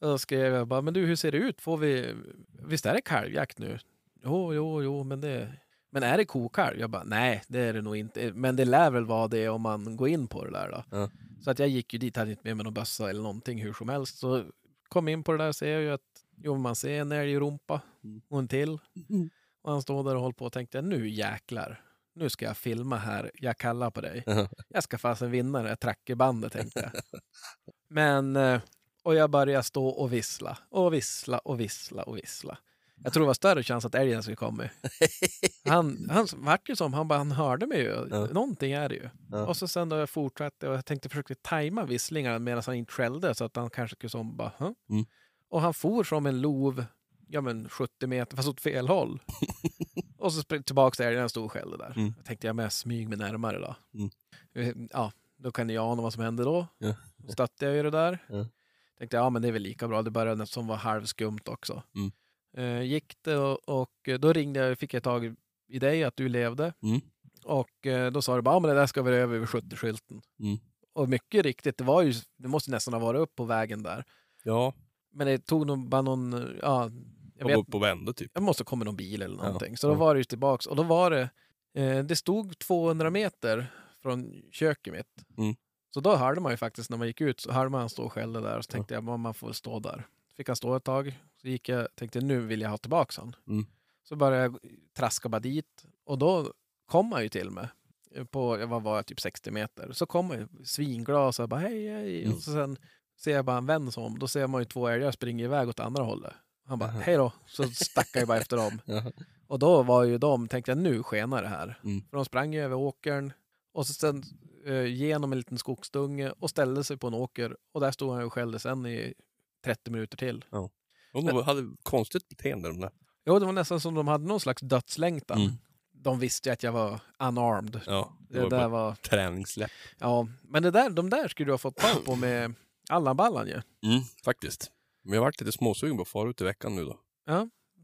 Speaker 3: då skrev jag bara, men du hur ser det ut? Får vi, visst är det kalvjakt nu? Jo, jo, jo, men det... Men är det kokalv? Jag bara, nej, det är det nog inte. Men det lär väl vara det om man går in på det där då.
Speaker 4: Ja.
Speaker 3: Så att jag gick ju dit, hade inte med mig någon bössa eller någonting hur som helst. Så kom in på det där, ser jag ju att, jo, man ser en älg i rumpa
Speaker 4: Mm.
Speaker 3: och en till.
Speaker 4: Mm.
Speaker 3: Och han står där och håller på och tänkte, nu jäklar. Nu ska jag filma här, jag kallar på dig.
Speaker 4: Ja.
Speaker 3: Jag ska fasen vinna det här trackerbandet tänkte jag. Men, eh, och jag började stå och vissla och vissla och vissla och vissla. Jag tror det var större chans att älgen skulle komma. Han, han vart ju som, han, bara, han hörde mig ju.
Speaker 4: Ja.
Speaker 3: Någonting är det ju.
Speaker 4: Ja.
Speaker 3: Och så sen då jag fortsatte och jag tänkte försöka tajma visslingarna medan han inte skällde så att han kanske skulle som bara, huh?
Speaker 4: Mm.
Speaker 3: Och han for som en lov, ja men 70 meter, fast åt fel håll. och så sprang tillbaka till älgen och stod och skällde där.
Speaker 4: Mm.
Speaker 3: Jag tänkte, jag men jag smyger mig närmare då.
Speaker 4: Mm.
Speaker 3: Eh, Ja, då kan jag ana vad som hände då.
Speaker 4: Ja.
Speaker 3: Då stötte jag ju det där.
Speaker 4: Ja.
Speaker 3: Tänkte, ja men det är väl lika bra, det började som var halvskumt också.
Speaker 4: Mm.
Speaker 3: Eh, gick det och, och då ringde jag, fick jag tag i dig att du levde.
Speaker 4: Mm.
Speaker 3: Och eh, då sa du bara, ja men det där ska vi över vid 70-skylten.
Speaker 4: Mm.
Speaker 3: Och mycket riktigt, det var ju, det måste nästan ha varit upp på vägen där.
Speaker 4: Ja,
Speaker 3: Men det tog nog bara någon, ja, jag
Speaker 4: jag
Speaker 3: vet
Speaker 4: var på vända typ.
Speaker 3: det måste komma någon bil eller
Speaker 4: Ja.
Speaker 3: någonting. Så då
Speaker 4: Ja.
Speaker 3: var det ju tillbaks och då var det, eh, det stod 200 meter från köket mitt.
Speaker 4: Mm.
Speaker 3: Så då hörde man ju faktiskt när man gick ut så hörde man han stå och skällde där och så tänkte jag "Men man får väl stå där. Fick han stå ett tag, så gick jag tänkte nu vill jag ha tillbaks han.
Speaker 4: Mm.
Speaker 3: Så började jag traska bara dit och då kom han ju till mig eh, på, eh, vad var jag, typ 60 meter. Så kom han ju svinglad och så jag bara hej hej.
Speaker 4: Mm.
Speaker 3: Och så sen ser jag bara en vän som, då ser man ju två älgar springa iväg åt andra hållet. Han bara,
Speaker 4: Aha.
Speaker 3: hej då, så stack jag ju bara efter dem.
Speaker 4: Jaha.
Speaker 3: Och då var ju de, tänkte jag, nu skenar det här.
Speaker 4: Mm.
Speaker 3: För de sprang ju över åkern och så sen eh, genom en liten skogsdunge och ställde sig på en åker och där stod han och skällde sen i 30 minuter till.
Speaker 4: De var- hade konstigt beteende de där.
Speaker 3: Jo, det var nästan som de hade någon slags dödslängtan.
Speaker 4: Mm.
Speaker 3: De visste ju att jag var unarmed.
Speaker 4: Ja, det,
Speaker 3: Det
Speaker 4: var
Speaker 3: där
Speaker 4: bara
Speaker 3: var,
Speaker 4: träningsläpp.
Speaker 3: ja, men det där, de där skulle du ha fått tag på med Allan-ballan ju.
Speaker 4: Mm, faktiskt. Men jag varit lite småsugen på att fara ut i veckan nu då.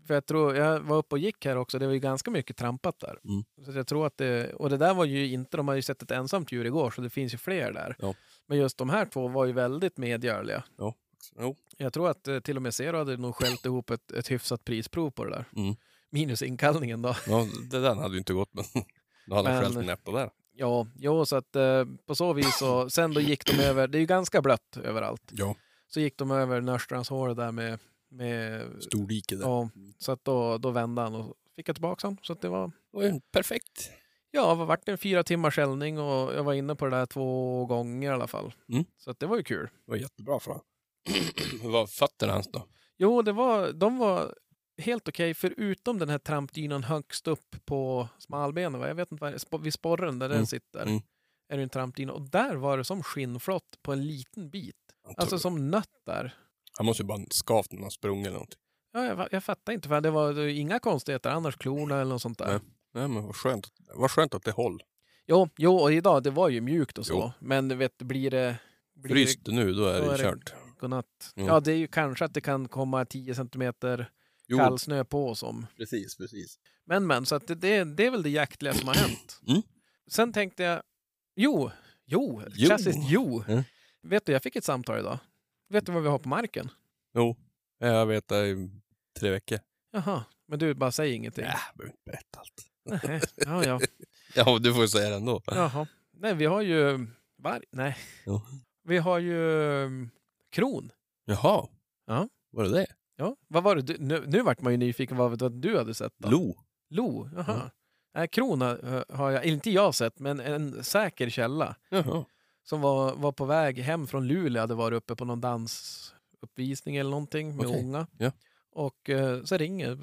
Speaker 3: För jag tror, jag var uppe och gick här också, det var ju ganska mycket trampat där.
Speaker 4: Mm.
Speaker 3: Så att jag tror att det, och det där var ju inte, de har ju sett ett ensamt djur igår så det finns ju fler där.
Speaker 4: Ja.
Speaker 3: Men just de här två var ju väldigt medgörliga.
Speaker 4: Jo,
Speaker 3: Jag tror att eh, till och med Zero hade nog skällt ihop ett, ett hyfsat prisprov på det där.
Speaker 4: Mm.
Speaker 3: Minus inkallningen då.
Speaker 4: ja, det där hade ju inte gått men då hade han
Speaker 3: Men-
Speaker 4: skällt en näppe där.
Speaker 3: Ja, jo, så att eh, på så vis så, sen då gick de över, det är ju ganska blött överallt,
Speaker 4: Ja.
Speaker 3: så gick de över Nörstrands hår där med, med
Speaker 4: Stor dike där.
Speaker 3: Ja, så att då, då vände han och fick jag tillbaka han. Så att det var,
Speaker 4: Oj, Perfekt.
Speaker 3: ja, det vart en fyra timmars skällning och jag var inne på det där två gånger i alla fall.
Speaker 4: Mm.
Speaker 3: Så att det var ju kul.
Speaker 4: Det var jättebra för honom. Hur var fötterna hans då?
Speaker 3: Jo, det var, de var helt okej, förutom den här trampdynan högst upp på smalbenen. va? Jag vet inte vad det är, sp- vid sporren där
Speaker 4: Mm,
Speaker 3: den sitter.
Speaker 4: mm.
Speaker 3: Är det en trampdyna. Och där var det som skinnflott på en liten bit.
Speaker 4: Han, tog-
Speaker 3: Alltså som nötter.
Speaker 4: han måste ju bara skavt när han sprungit eller någonting.
Speaker 3: Ja, jag, fa- jag fattar inte, för det var, det var inga konstigheter annars, klorna eller något sånt där.
Speaker 4: Nej. Nej men vad skönt. Vad skönt att det håll.
Speaker 3: Jo, jo, och idag, det var ju mjukt och så.
Speaker 4: Jo.
Speaker 3: Men du vet, blir det... Blir
Speaker 4: Fryst Mm. det nu, då är
Speaker 3: då
Speaker 4: det
Speaker 3: är det-
Speaker 4: kört.
Speaker 3: det godnatt?
Speaker 4: Jo.
Speaker 3: Ja, det är ju kanske att det kan komma 10 centimeter
Speaker 4: Jo,
Speaker 3: kallsnö på som.
Speaker 4: precis, precis.
Speaker 3: Men, men, så att det, det, det är väl det jaktliga som har hänt.
Speaker 4: Mm.
Speaker 3: Sen tänkte jag, jo, jo,
Speaker 4: Jo.
Speaker 3: klassiskt jo.
Speaker 4: Mm.
Speaker 3: Vet du, jag fick ett samtal idag. Vet du vad vi har på marken?
Speaker 4: Jo, Eh, jag vet det i tre veckor.
Speaker 3: Jaha, men du bara säger ingenting.
Speaker 4: Nej, jag behöver inte berätta allt.
Speaker 3: Nähä, Ja, ja,
Speaker 4: Ja, men du får ju säga det ändå.
Speaker 3: jaha. Nej, vi har ju varg. Nej.
Speaker 4: Jo.
Speaker 3: Vi har ju um, kron.
Speaker 4: Jaha.
Speaker 3: Ja.
Speaker 4: Var det det?
Speaker 3: Ja, vad var det? Du, nu, nu vart man ju nyfiken vad, vad du hade sett då.
Speaker 4: Lo.
Speaker 3: Lo, jaha.
Speaker 4: Mm.
Speaker 3: Nej, Krona eh, har jag, eller inte jag sett, men en säker källa
Speaker 4: Jaha.
Speaker 3: som var, var på väg hem från Luleå, hade varit uppe på någon dansuppvisning eller någonting med
Speaker 4: Okej,
Speaker 3: unga.
Speaker 4: ja.
Speaker 3: Och eh, så ringer,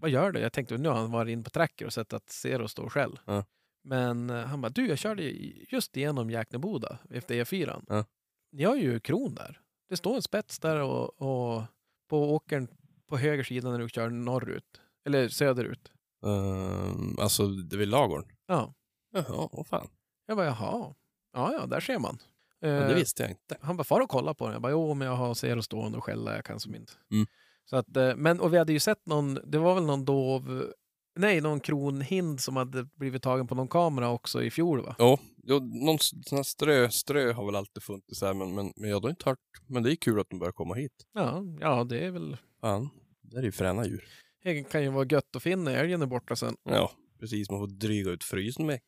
Speaker 3: vad gör du? Jag tänkte nu har han varit in på tracker och sett att Zero står själv.
Speaker 4: Ja.
Speaker 3: Men eh, han bara, du jag körde i- just igenom Jäkneboda efter E4.
Speaker 4: Ja.
Speaker 3: Ni har ju kron där. Det står en spets där och, och på åkern på höger sida när du kör norrut, eller söderut.
Speaker 4: Ehm, alltså, det är vid lagården?
Speaker 3: Ja.
Speaker 4: Jaha, vad fan.
Speaker 3: Jag bara, jaha. Ja, ja, där ser man.
Speaker 4: Ja, det
Speaker 3: Eh,
Speaker 4: visste jag inte.
Speaker 3: han bara, far och kolla på den. Jag bara, jo, men jag har ser och stående och skälla, jag kan som inte.
Speaker 4: Mm.
Speaker 3: Så att, eh, men, och vi hade ju sett någon, det var väl någon dov, nej, någon kronhind som hade blivit tagen på någon kamera också i fjol, va?
Speaker 4: Jo, någon sån här strö, strö har väl alltid funnits här, men, men, men jag har inte hört. Men det är kul att de börjar komma hit.
Speaker 3: Ja, ja det är väl,
Speaker 4: Fan, det är ju fräna djur.
Speaker 3: det kan ju vara gött att finna älgen är borta sen.
Speaker 4: Ja, precis. Man får dryga ut frysen med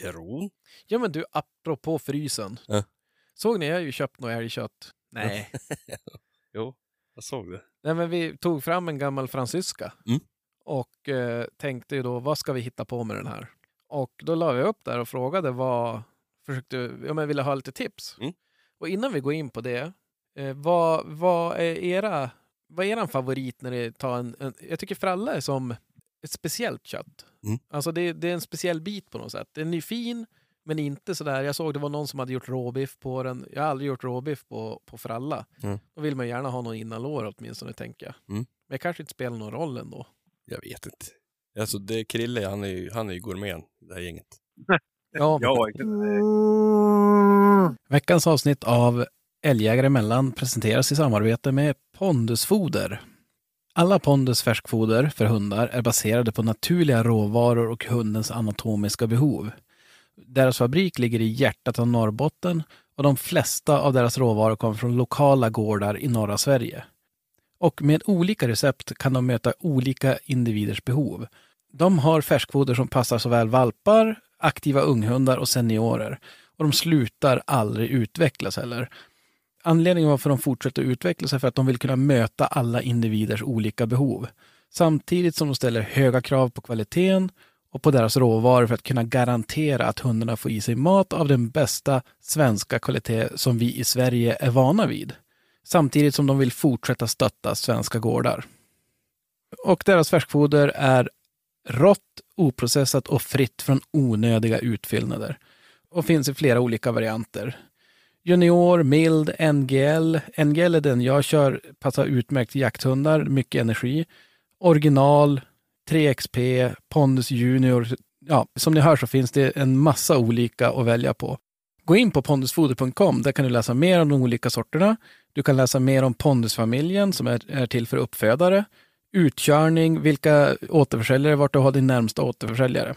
Speaker 4: kron.
Speaker 3: Ja, men du, apropå frysen.
Speaker 4: Ja.
Speaker 3: Såg ni, jag har ju köpt något älgkött. Nej.
Speaker 4: Jo, jag såg det.
Speaker 3: nej, men vi tog fram en gammal fransyska.
Speaker 4: Mm.
Speaker 3: Och eh, tänkte ju då, vad ska vi hitta på med den här? Och då la vi upp där och frågade vad, försökte, ja men ville ha lite tips.
Speaker 4: Mm.
Speaker 3: Och innan vi går in på det, eh, vad, vad är era, vad är eran favorit när det tar en, en jag tycker fralla är som ett speciellt kött.
Speaker 4: Mm.
Speaker 3: Alltså det, är- det är en speciell bit på något sätt. Den är fin, men inte sådär, jag såg det var någon som hade gjort råbiff på den, jag har aldrig gjort råbiff på, på fralla.
Speaker 4: Mm.
Speaker 3: Då vill man gärna ha någon innan lår åtminstone tänker jag.
Speaker 4: Mm.
Speaker 3: Men det kanske inte spelar någon roll ändå.
Speaker 4: Jag vet inte. Alltså, det är Krille, han är ju, han är ju gourmeten i det här gänget.
Speaker 3: Ja,
Speaker 5: Ja, exakt.
Speaker 6: Veckans avsnitt av Älgjägare emellan presenteras i samarbete med Pondusfoder. Alla Pondus färskfoder för hundar är baserade på naturliga råvaror och hundens anatomiska behov. Deras fabrik ligger i hjärtat av Norrbotten och de flesta av deras råvaror kommer från lokala gårdar i norra Sverige. Och med olika recept kan de möta olika individers behov. De har färskfoder som passar såväl valpar, aktiva unghundar och seniorer och de slutar aldrig utvecklas heller. Anledningen varför de fortsätter utvecklas är för att de vill kunna möta alla individers olika behov. Samtidigt som de ställer höga krav på kvaliteten och på deras råvaror för att kunna garantera att hundarna får i sig mat av den bästa svenska kvalitet som vi i Sverige är vana vid. Samtidigt som de vill fortsätta stötta svenska gårdar. Och deras färskfoder är rått, oprocessat och fritt från onödiga utfyllnader och finns i flera olika varianter. Junior, mild, NGL. NGL är den jag kör, passar utmärkt till jakthundar, mycket energi. Original, 3XP, Pondus Junior. Ja, som ni hör så finns det en massa olika att välja på. Gå in på pondusfoder.com, där kan du läsa mer om de olika sorterna. Du kan läsa mer om pondusfamiljen som är, är till för uppfödare, utkörning, vilka återförsäljare, vart du har din närmsta återförsäljare.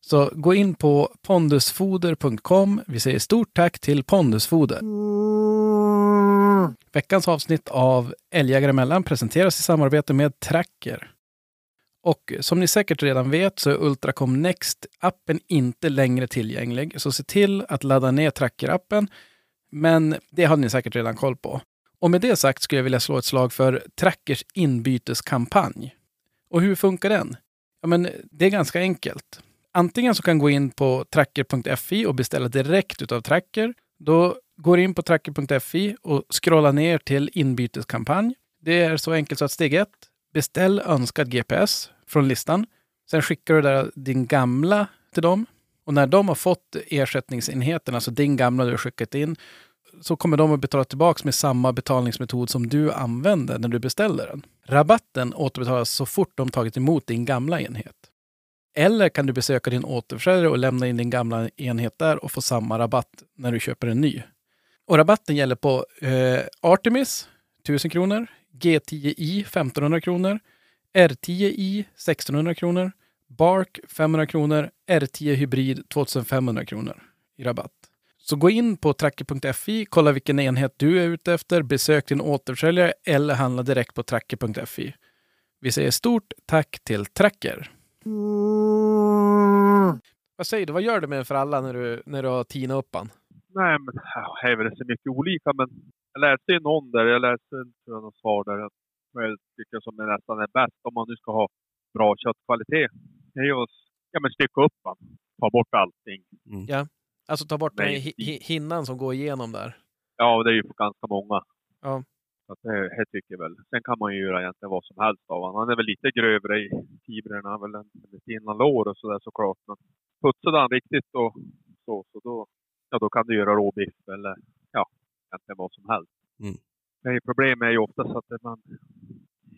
Speaker 6: Så gå in på pondusfoder.com. Vi säger stort tack till Pondusfoder. Veckans avsnitt av Älgjägare emellan presenteras i samarbete med Tracker. Och som ni säkert redan vet så är Ultracom Next-appen inte längre tillgänglig, så se till att ladda ner Tracker-appen. Men det har ni säkert redan koll på. Och med det sagt skulle jag vilja slå ett slag för Trackers inbyteskampanj. Och hur funkar den? Ja, men det är ganska enkelt. Antingen så kan gå in på tracker.fi och beställa direkt utav Tracker. Då går du in på tracker.fi och scrollar ner till inbyteskampanj. Det är så enkelt så att steg ett, beställ önskad GPS från listan. Sen skickar du där din gamla till dem. Och när de har fått ersättningsenheten, alltså din gamla du har skickat in, så kommer de att betala tillbaka med samma betalningsmetod som du använder när du beställer den. Rabatten återbetalas så fort de tagit emot din gamla enhet. Eller kan du besöka din återförsäljare och lämna in din gamla enhet där och få samma rabatt när du köper en ny. Och rabatten gäller på eh, Artemis 1000 kronor, G10i 1500 kronor, R10i 1600 kronor, Bark 500 kronor, R10 Hybrid 2500 kronor i rabatt. Så gå in på tracker.fi, kolla vilken enhet du är ute efter, besök din återförsäljare eller handla direkt på tracker.fi. Vi säger stort tack till Tracker.
Speaker 3: Vad säger du, vad gör du med en för alla när du, när du har tinat upp han?
Speaker 5: Nej, men ja, det är väl så mycket olika. Men jag läste ju någon där, jag läste tror jag, något svar där. att vad Jag tycker som är nästan är bäst om man nu ska ha bra köttkvalitet. Det är ju att ja, men stycka upp man. Ta bort allting.
Speaker 3: Alltså ta bort den
Speaker 5: Nej.
Speaker 3: hi- hi- hinnan som går igenom där.
Speaker 5: Ja, och det är ju för ganska många.
Speaker 3: Ja.
Speaker 5: Så att det, det tycker jag väl. Sen kan man ju göra egentligen vad som helst av honom. Han är väl lite grövre i fibrerna, väl än- lite innan lår och sådär såklart. Men putsade han riktigt och så, så då, ja, då kan du göra råbiff eller ja, egentligen vad som helst.
Speaker 4: Mm.
Speaker 5: Men problemet är ju oftast att man,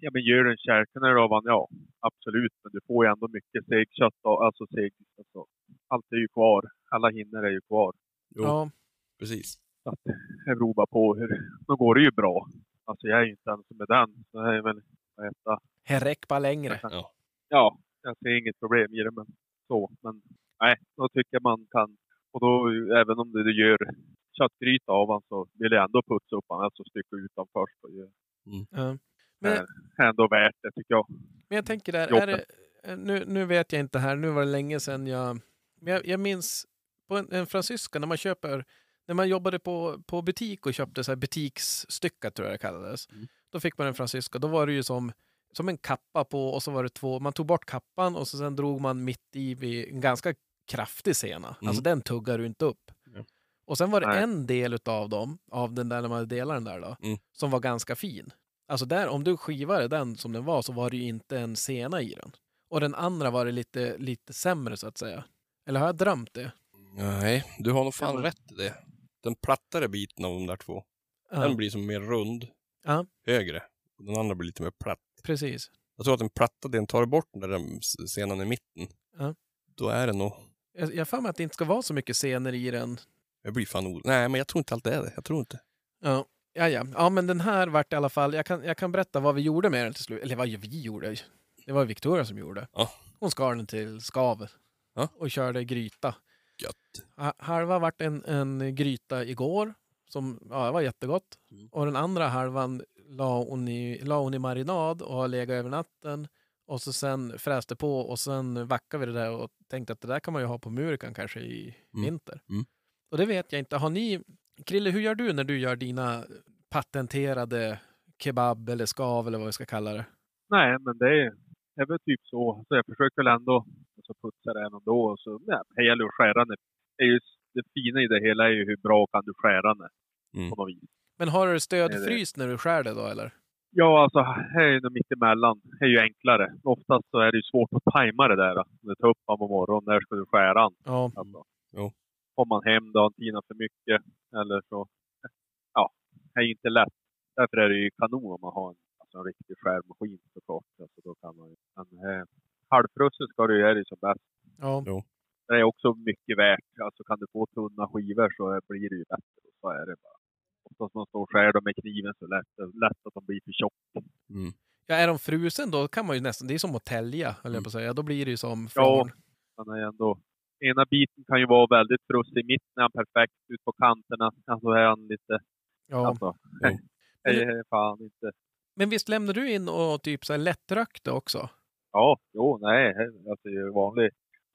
Speaker 5: ja men gör du en kärkner av han, ja absolut. Men du får ju ändå mycket segkött, av- alltså seg, alltså, allt är ju kvar. Alla hinnor är ju kvar.
Speaker 4: Jo,
Speaker 3: Ja.
Speaker 4: precis.
Speaker 5: Så att det beror bara på hur... Då går det ju bra. Alltså jag är ju inte ens med den. Så det är väl att äta.
Speaker 3: Herräck bara längre.
Speaker 5: Ja, jag ser inget problem i det. Men så. Men nej, då tycker jag man kan... Och då, även om du du gör köttgryta av han så vill jag ändå putsa upp han. Alltså stycka ut han först. Och göra-
Speaker 3: Ja.
Speaker 5: det
Speaker 3: Men-
Speaker 5: är ändå värt det tycker jag.
Speaker 3: Men jag tänker där, är
Speaker 5: Jobbet.
Speaker 3: det, eh, nu, nu vet jag inte här, nu var det länge sedan jag... Men jag, jag minns på en, en fransyska när man köper, när man jobbade på, på butik och köpte så här butiksstycka tror jag det kallades.
Speaker 4: Mm.
Speaker 3: Då fick man en fransyska, då var det ju som, som en kappa på och så var det två, man tog bort kappan och så sen drog man mitt i vid en ganska kraftig sena.
Speaker 4: Mm.
Speaker 3: Alltså den tuggar du inte upp.
Speaker 4: Ja.
Speaker 3: Och sen var det
Speaker 5: Nej.
Speaker 3: en del av dem, av den där när man delade den där då,
Speaker 4: Mm.
Speaker 3: som var ganska fin. Alltså där, om du skivade den som den var så var det ju inte en sena i den. Och den andra var det lite, lite sämre så att säga. Eller har jag drömt det?
Speaker 4: Nej, du har nog fan
Speaker 5: Ja, men-
Speaker 4: rätt i det. Den plattare biten av de där två,
Speaker 3: Ja,
Speaker 4: den blir som mer rund.
Speaker 3: Ja.
Speaker 4: Högre. Och den andra blir lite mer platt.
Speaker 3: Precis.
Speaker 4: Jag tror att den platta delen tar du bort den där den s- senan i mitten.
Speaker 3: Ja.
Speaker 4: Då är det nog...
Speaker 3: Jag jag har för mig att det inte ska vara så mycket senor i den.
Speaker 4: Jag blir fan orolig. Nej, men jag tror inte allt det är det. Jag tror inte.
Speaker 3: Ja. Ja, ja. ja, men den här vart i alla fall... Jag kan, jag kan berätta vad vi gjorde med den till slut. Eller vad vi gjorde. Det var Victoria som gjorde.
Speaker 4: Ja.
Speaker 3: Hon skar den till skav
Speaker 4: Ja.
Speaker 3: och körde gryta.
Speaker 4: Gött.
Speaker 3: Ha- Halva vart en, en gryta igår, som ja, det var jättegott.
Speaker 4: Mm.
Speaker 3: Och den andra halvan la hon, i, la hon i marinad och har legat över natten. Och så sen fräste på och sen vackade vi det där och tänkte att det där kan man ju ha på murikan kanske i
Speaker 4: Mm.
Speaker 3: vinter.
Speaker 4: Mm.
Speaker 3: Och det vet jag inte. Har ni, Krille, hur gör du när du gör dina patenterade kebab eller skav eller vad vi ska kalla det?
Speaker 5: Nej, men det är, det är väl typ så. Så jag försöker väl ändå alltså, putsa det även då. Och så, nej, det gäller att skära det. Det, är ju, det fina i det hela är ju hur bra kan du skära det
Speaker 4: Mm.
Speaker 5: på något vis.
Speaker 3: Men har du
Speaker 5: Nej, det-
Speaker 3: stödfryst när du skär det då eller?
Speaker 5: Ja, alltså här är ju nog mittemellan. Det är ju enklare. Oftast så är det ju svårt att tajma det där. då. Om du tar upp honom på morgonen, när ska du skära han?
Speaker 3: Ja,
Speaker 5: Alltså.
Speaker 4: Jo.
Speaker 5: Kommer man hem då, har han tinat för mycket. Eller så. Ja, det är ju inte lätt. Därför är det ju kanon om man har en, alltså en riktig skärmaskin såklart. Alltså, då kan man ju. Men eh, halvfrusen ska du göra det som bäst.
Speaker 3: ja.
Speaker 5: Det är också mycket värt. Alltså kan du få tunna skivor så blir det ju bättre. Så är det bara. Oftast man står och skär dem med kniven så lätt, lätt att de blir för tjocka.
Speaker 3: Ja, är de frusen då kan man ju nästan, det är som att tälja, höll jag på att säga. Då blir det ju som
Speaker 5: Mm. Ja.
Speaker 3: från...
Speaker 5: Han är ändå... Ena biten kan ju vara väldigt frustig. I mitten är han perfekt. Ut på kanterna alltså är han lite...
Speaker 3: Ja.
Speaker 5: Alltså,
Speaker 4: Jo.
Speaker 5: nej, nej, fan inte.
Speaker 3: Men visst lämnar du in och typ så här lättrökta också?
Speaker 5: Ja, jo, nej. Alltså det är ju vanlig...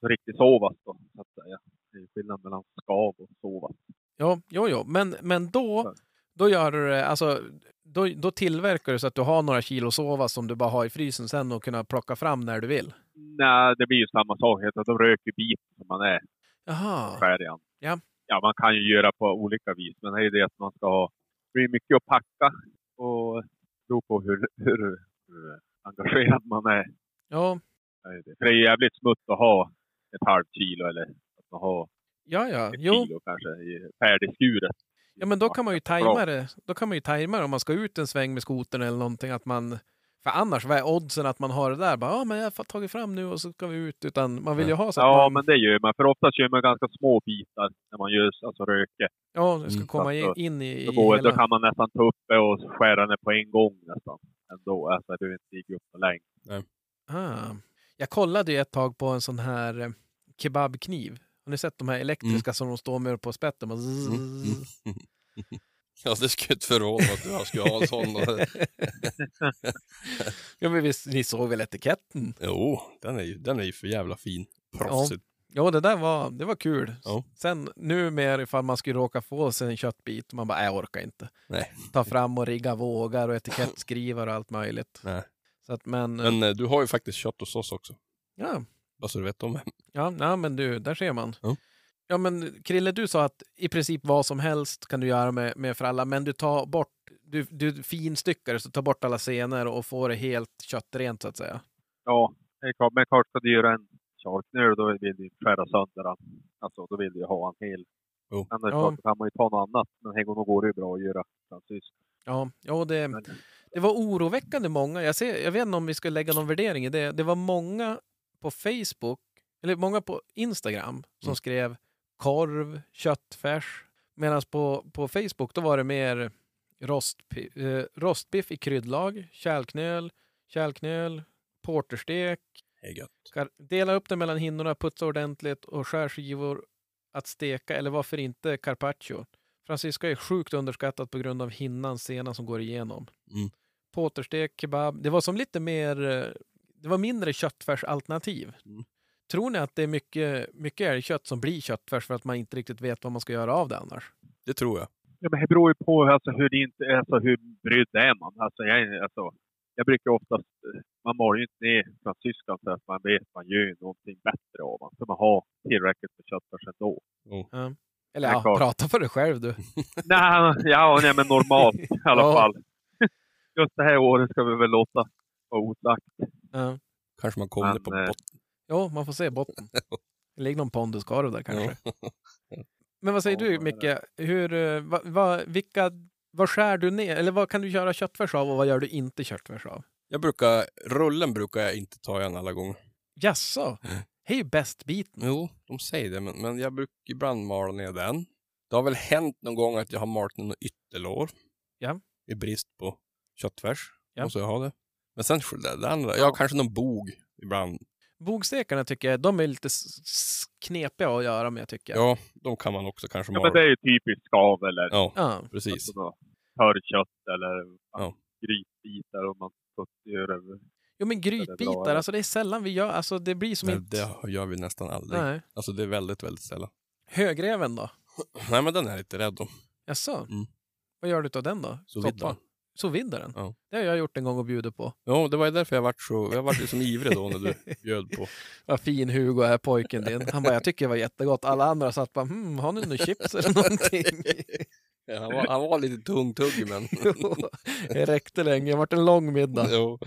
Speaker 5: Riktigt sovas då, så att säga. Det är ju skillnad mellan skav och sovas.
Speaker 3: Ja, jo, jo. Men, men då, Då, gör du, det- alltså, då, då tillverkar du så att du har några kilo sova som du bara har i frysen sen och kunna plocka fram när du vill.
Speaker 5: Nej, det blir ju samma sak. utan De röker bit som man är
Speaker 3: Jaha.
Speaker 5: skär i den.
Speaker 3: Ja.
Speaker 5: ja, man kan ju göra på olika vis. Men det är ju det att man ska ha... Det blir mycket att packa och tro på hur, hur, hur engagerad man är.
Speaker 3: Ja,
Speaker 5: Det är ju det. För det är jävligt smutt att ha ett halvt kilo eller att man har
Speaker 3: ja, ja.
Speaker 5: ett
Speaker 3: Jo,
Speaker 5: kilo kanske i färdigskuret.
Speaker 3: Ja, men då kan man ju
Speaker 5: Bra.
Speaker 3: tajma det. Då kan man ju tajma det om man ska ut en sväng med skotern eller någonting. Att man, för annars, vad är oddsen att man har det där? Bara, ja, men jag har tagit fram nu och så ska vi ut. Utan man vill ju ha så att
Speaker 5: Ja,
Speaker 3: man
Speaker 5: men det gör man. För oftast gör man ganska små bitar när man gör alltså röker.
Speaker 3: ja, det ska
Speaker 4: Mm.
Speaker 3: komma
Speaker 5: Alltså,
Speaker 3: in i, i
Speaker 5: Då, går, då
Speaker 3: hela.
Speaker 5: kan man nästan ta upp det och skära ner på en gång nästan. Ändå, alltså det behöver inte ligga upp så länge.
Speaker 3: Ah. Jag kollade ju ett tag på en sån här eh, kebabkniv. Har ni sett de här elektriska som de står med på spetten? Och zzz,
Speaker 4: Mm, mm. Ja, det skulle inte förvåna att jag skulle ha en sån.
Speaker 3: Ja, men visst, ni såg väl etiketten?
Speaker 4: Jo, den är ju, den är ju för jävla fin. Proffsigt.
Speaker 3: Jo, det där var, det var kul.
Speaker 4: Ja.
Speaker 3: Sen numera ifall man skulle råka få sig en köttbit, man bara, "Nej, jag orkar inte.
Speaker 4: Nej.
Speaker 3: Ta fram och rigga vågar och etikettskrivare och allt möjligt.
Speaker 4: Nej.
Speaker 3: Så att, men,
Speaker 4: Men eh, du har ju faktiskt kött hos oss också.
Speaker 3: ja,
Speaker 4: Bara så du vet om det.
Speaker 3: ja, nej, men du, där ser man.
Speaker 4: Ja.
Speaker 3: Ja, men Krille, du sa att i princip vad som helst kan du göra med, med för alla, men du tar bort, du, du finstyckar det, så tar bort alla scener och får det helt köttrent så att säga.
Speaker 5: Ja, det är klart. Men klart ska du göra en charknöl då vill du ju skära sönder den. Alltså då vill du ju ha en hel.
Speaker 4: Jo.
Speaker 5: Annars
Speaker 3: Ja.
Speaker 5: klart kan man ju ta något annat. Men här gången går det ju bra att göra fransysk.
Speaker 3: Ja, ja det,
Speaker 5: Men-
Speaker 3: det var oroväckande många. Jag, ser, jag vet inte om vi ska lägga någon värdering i det. Det var många på Facebook, eller många på Instagram, som
Speaker 4: Mm.
Speaker 3: skrev korv, köttfärs. Medan på, på Facebook då var det mer rost, eh, rostbiff i kryddlag, kärlknöl, kärlknöl, porterstek.
Speaker 4: Det är gött.
Speaker 3: Skar- Dela upp det mellan hinnorna, putsa ordentligt och skär skivor att steka eller varför inte carpaccio. Francisca är sjukt underskattat på grund av hinnan, senan som går igenom.
Speaker 4: Mm.
Speaker 3: Påterstek, kebab. Det var som lite mer, eh, det var mindre köttfärsalternativ.
Speaker 4: Mm.
Speaker 3: Tror ni att det är mycket, mycket älgkött som blir köttfärs för att man inte riktigt vet vad man ska göra av det annars?
Speaker 4: Det tror jag.
Speaker 5: Ja, men det beror ju på alltså, hur, det inte, alltså, hur brydd är man. Alltså, jag, är- alltså, jag brukar oftast, man mår ju inte ner fransyskan för att man vet att man gör ju någonting bättre av den. Så man har tillräckligt med köttfärs ändå.
Speaker 3: Eller
Speaker 5: Ja,
Speaker 3: ja,
Speaker 5: klart.
Speaker 3: prata för dig själv du.
Speaker 5: Nej, ja, nej, men normalt i alla
Speaker 3: Ja.
Speaker 5: fall. Just det här året ska vi väl låta vara osagt.
Speaker 3: Ja.
Speaker 4: Kanske man kommer
Speaker 5: Men,
Speaker 4: på
Speaker 5: eh,
Speaker 4: botten.
Speaker 3: Jo, man får se botten. Det ligger någon ponduskorv där kanske.
Speaker 4: Ja.
Speaker 3: Men vad säger
Speaker 5: Ja,
Speaker 3: du
Speaker 5: vad är
Speaker 3: Micke? Hur, eh, va, va, vilka, vad skär du ner? Eller vad kan du göra köttfärs av och vad gör du inte köttfärs av?
Speaker 4: Jag brukar, rullen brukar jag inte ta igen alla gånger.
Speaker 3: Jaså? Det är ju bäst biten.
Speaker 4: Jo, de säger det, men, men jag brukar ibland mala ner den. Det har väl hänt någon gång att jag har malt ner något ytterlår.
Speaker 3: Ja.
Speaker 4: I brist på köttfärs.
Speaker 3: Ja.
Speaker 4: Måste jag ha det. Men sen det, det andra. Jag har kanske någon bog ibland.
Speaker 3: Bogstekarna tycker jag, de är lite s- s- knepiga att göra med tycker
Speaker 4: Ja,
Speaker 3: jag.
Speaker 4: de kan man också kanske
Speaker 5: Ja,
Speaker 4: mala.
Speaker 5: men det är ju typiskt skav eller
Speaker 4: Ja,
Speaker 3: Ja.
Speaker 4: precis.
Speaker 5: alltså, då, törrkött eller
Speaker 4: Ja.
Speaker 5: grytbitar om man putt- gör över.
Speaker 3: Jo men
Speaker 5: Det är
Speaker 3: grytbitar,
Speaker 5: bra.
Speaker 3: alltså det är sällan vi gör, alltså det blir som
Speaker 4: Nej,
Speaker 3: inte...
Speaker 4: det gör vi nästan aldrig.
Speaker 3: Nej.
Speaker 4: Alltså det är väldigt, väldigt sällan.
Speaker 3: Högreven då?
Speaker 4: Nej, men den är jag lite rädd om.
Speaker 3: Jaså?
Speaker 4: Mm.
Speaker 3: Vad gör du av den då?
Speaker 4: Så vitt
Speaker 3: Soppa?
Speaker 4: då.
Speaker 3: Sovidaren?
Speaker 4: Ja.
Speaker 3: Det har jag gjort en gång och bjudit på.
Speaker 4: Ja, det var ju därför jag vart så, jag vart ju som ivrig då när du bjöd på.
Speaker 3: Vad fin Hugo är pojken din. Han bara, jag tycker det var jättegott. Alla andra satt bara, hmm, har ni några chips eller någonting?
Speaker 4: Ja, han, var, han var lite tungtuggig men.
Speaker 3: Jo, det räckte länge. Det vart en lång middag.
Speaker 4: jo.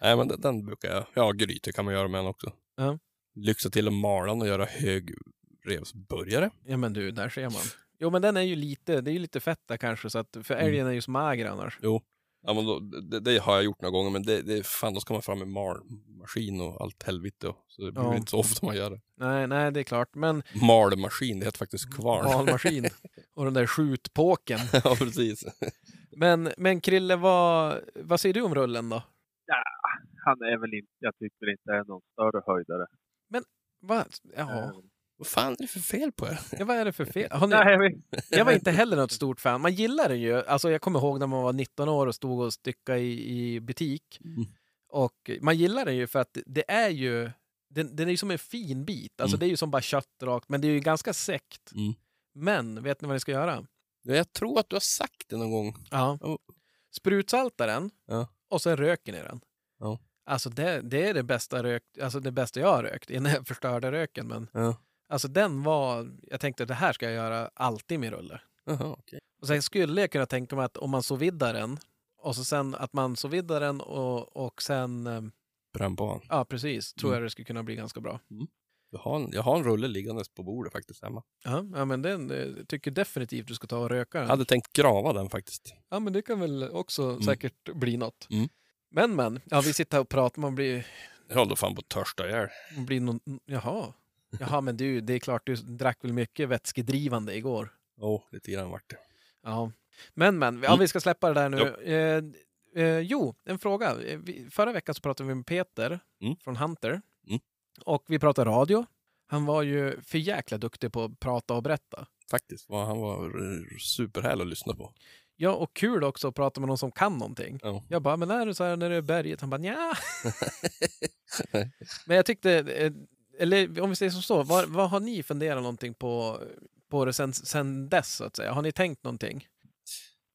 Speaker 4: Nej men den, den brukar jag, ja grytor kan man göra med den också.
Speaker 3: Ja.
Speaker 4: Lyxa till och mala den och göra högrevsburgare.
Speaker 3: Ja, men du, där ser man. Jo, men den är ju lite, det är ju lite fett där kanske, så att, för älgen är ju så mager annars.
Speaker 4: Ja men då, det, det har jag gjort några gånger men det, det fan då ska man fram med malmaskin och allt helvete. och- Så det blir
Speaker 3: Ja.
Speaker 4: inte så ofta man gör det.
Speaker 3: Nej, nej, det är klart. Men
Speaker 4: Malmaskin, det heter faktiskt kvarn.
Speaker 3: valmaskin och den där skjutpåken.
Speaker 4: ja precis.
Speaker 3: Men, men Krille, vad, vad säger du om rullen då?
Speaker 5: Han är väl inte, jag tycker väl inte är någon större höjdare.
Speaker 3: Va?
Speaker 5: Eh.
Speaker 3: Ja,
Speaker 4: Vad fan är det för fel på er?
Speaker 3: ja, vad är det för fel? Har ni,
Speaker 5: Nej, vi-
Speaker 3: jag var inte heller något stort fan. Man gillar den ju. Alltså, jag kommer ihåg när man var 19 år och stod och styckade i, i butik.
Speaker 4: Mm.
Speaker 3: Och man gillar den ju för att det är ju den, den är ju som en fin bit. Alltså
Speaker 4: Mm.
Speaker 3: Det är ju som bara kött rakt, men det är ju ganska sekt.
Speaker 4: Mm.
Speaker 3: Men vet ni vad ni ska göra?
Speaker 4: Jag tror att du har sagt det någon gång.
Speaker 3: Ja.
Speaker 4: Ja.
Speaker 3: Sprutsalta den
Speaker 4: Ja.
Speaker 3: och sen röken i den.
Speaker 4: Ja.
Speaker 3: Alltså det, det är det bästa, rök, alltså det bästa jag har rökt innan jag förstörde röken. Men
Speaker 4: Ja.
Speaker 3: alltså den var, jag tänkte att det här ska jag göra alltid med rulle.
Speaker 4: Jaha, okej.
Speaker 3: Och sen skulle jag kunna tänka mig att om man sovidar den och så sen att man sovidar den och, och sen, eh,
Speaker 4: Brann på han.
Speaker 3: ja precis, tror
Speaker 4: Mm.
Speaker 3: jag det skulle kunna bli ganska bra.
Speaker 4: Jag har, en, jag har en rulle liggandes på bordet faktiskt hemma.
Speaker 3: Ja, ja men den eh, tycker definitivt du ska ta och röka
Speaker 4: Jag
Speaker 3: den.
Speaker 4: hade tänkt grava den faktiskt.
Speaker 3: Ja, men det kan väl också säkert bli något.
Speaker 4: Mm.
Speaker 3: Men, men. Ja, vi sitter här och pratar. Man blir...
Speaker 4: Jag håller fan på att törsta ihjäl.
Speaker 3: Man blir någon, jaha. Jaha, men du, det är klart du drack väl mycket vätskedrivande igår.
Speaker 4: Jo, lite grann vart det.
Speaker 3: Ja. Men, men. Ja,
Speaker 4: Mm.
Speaker 3: vi ska släppa det där nu. Jo, eh, eh, jo en fråga. Eh, Vi, förra veckan så pratade vi med Peter
Speaker 4: Mm.
Speaker 3: från Hunter.
Speaker 4: Mm.
Speaker 3: Och vi pratade radio. Han var ju för jäkla duktig på att prata och berätta.
Speaker 4: Faktiskt. Vad Han var r- superhärlig att lyssna på.
Speaker 3: Ja, och kul också att prata med någon som kan någonting.
Speaker 4: Ja.
Speaker 3: Jag bara, men är det så här när det är berget? Han bara, nja. men jag tyckte, eh, eller om vi säger som så, vad, vad har ni funderat någonting på, på det sen, sen dess så att säga? Har ni tänkt någonting?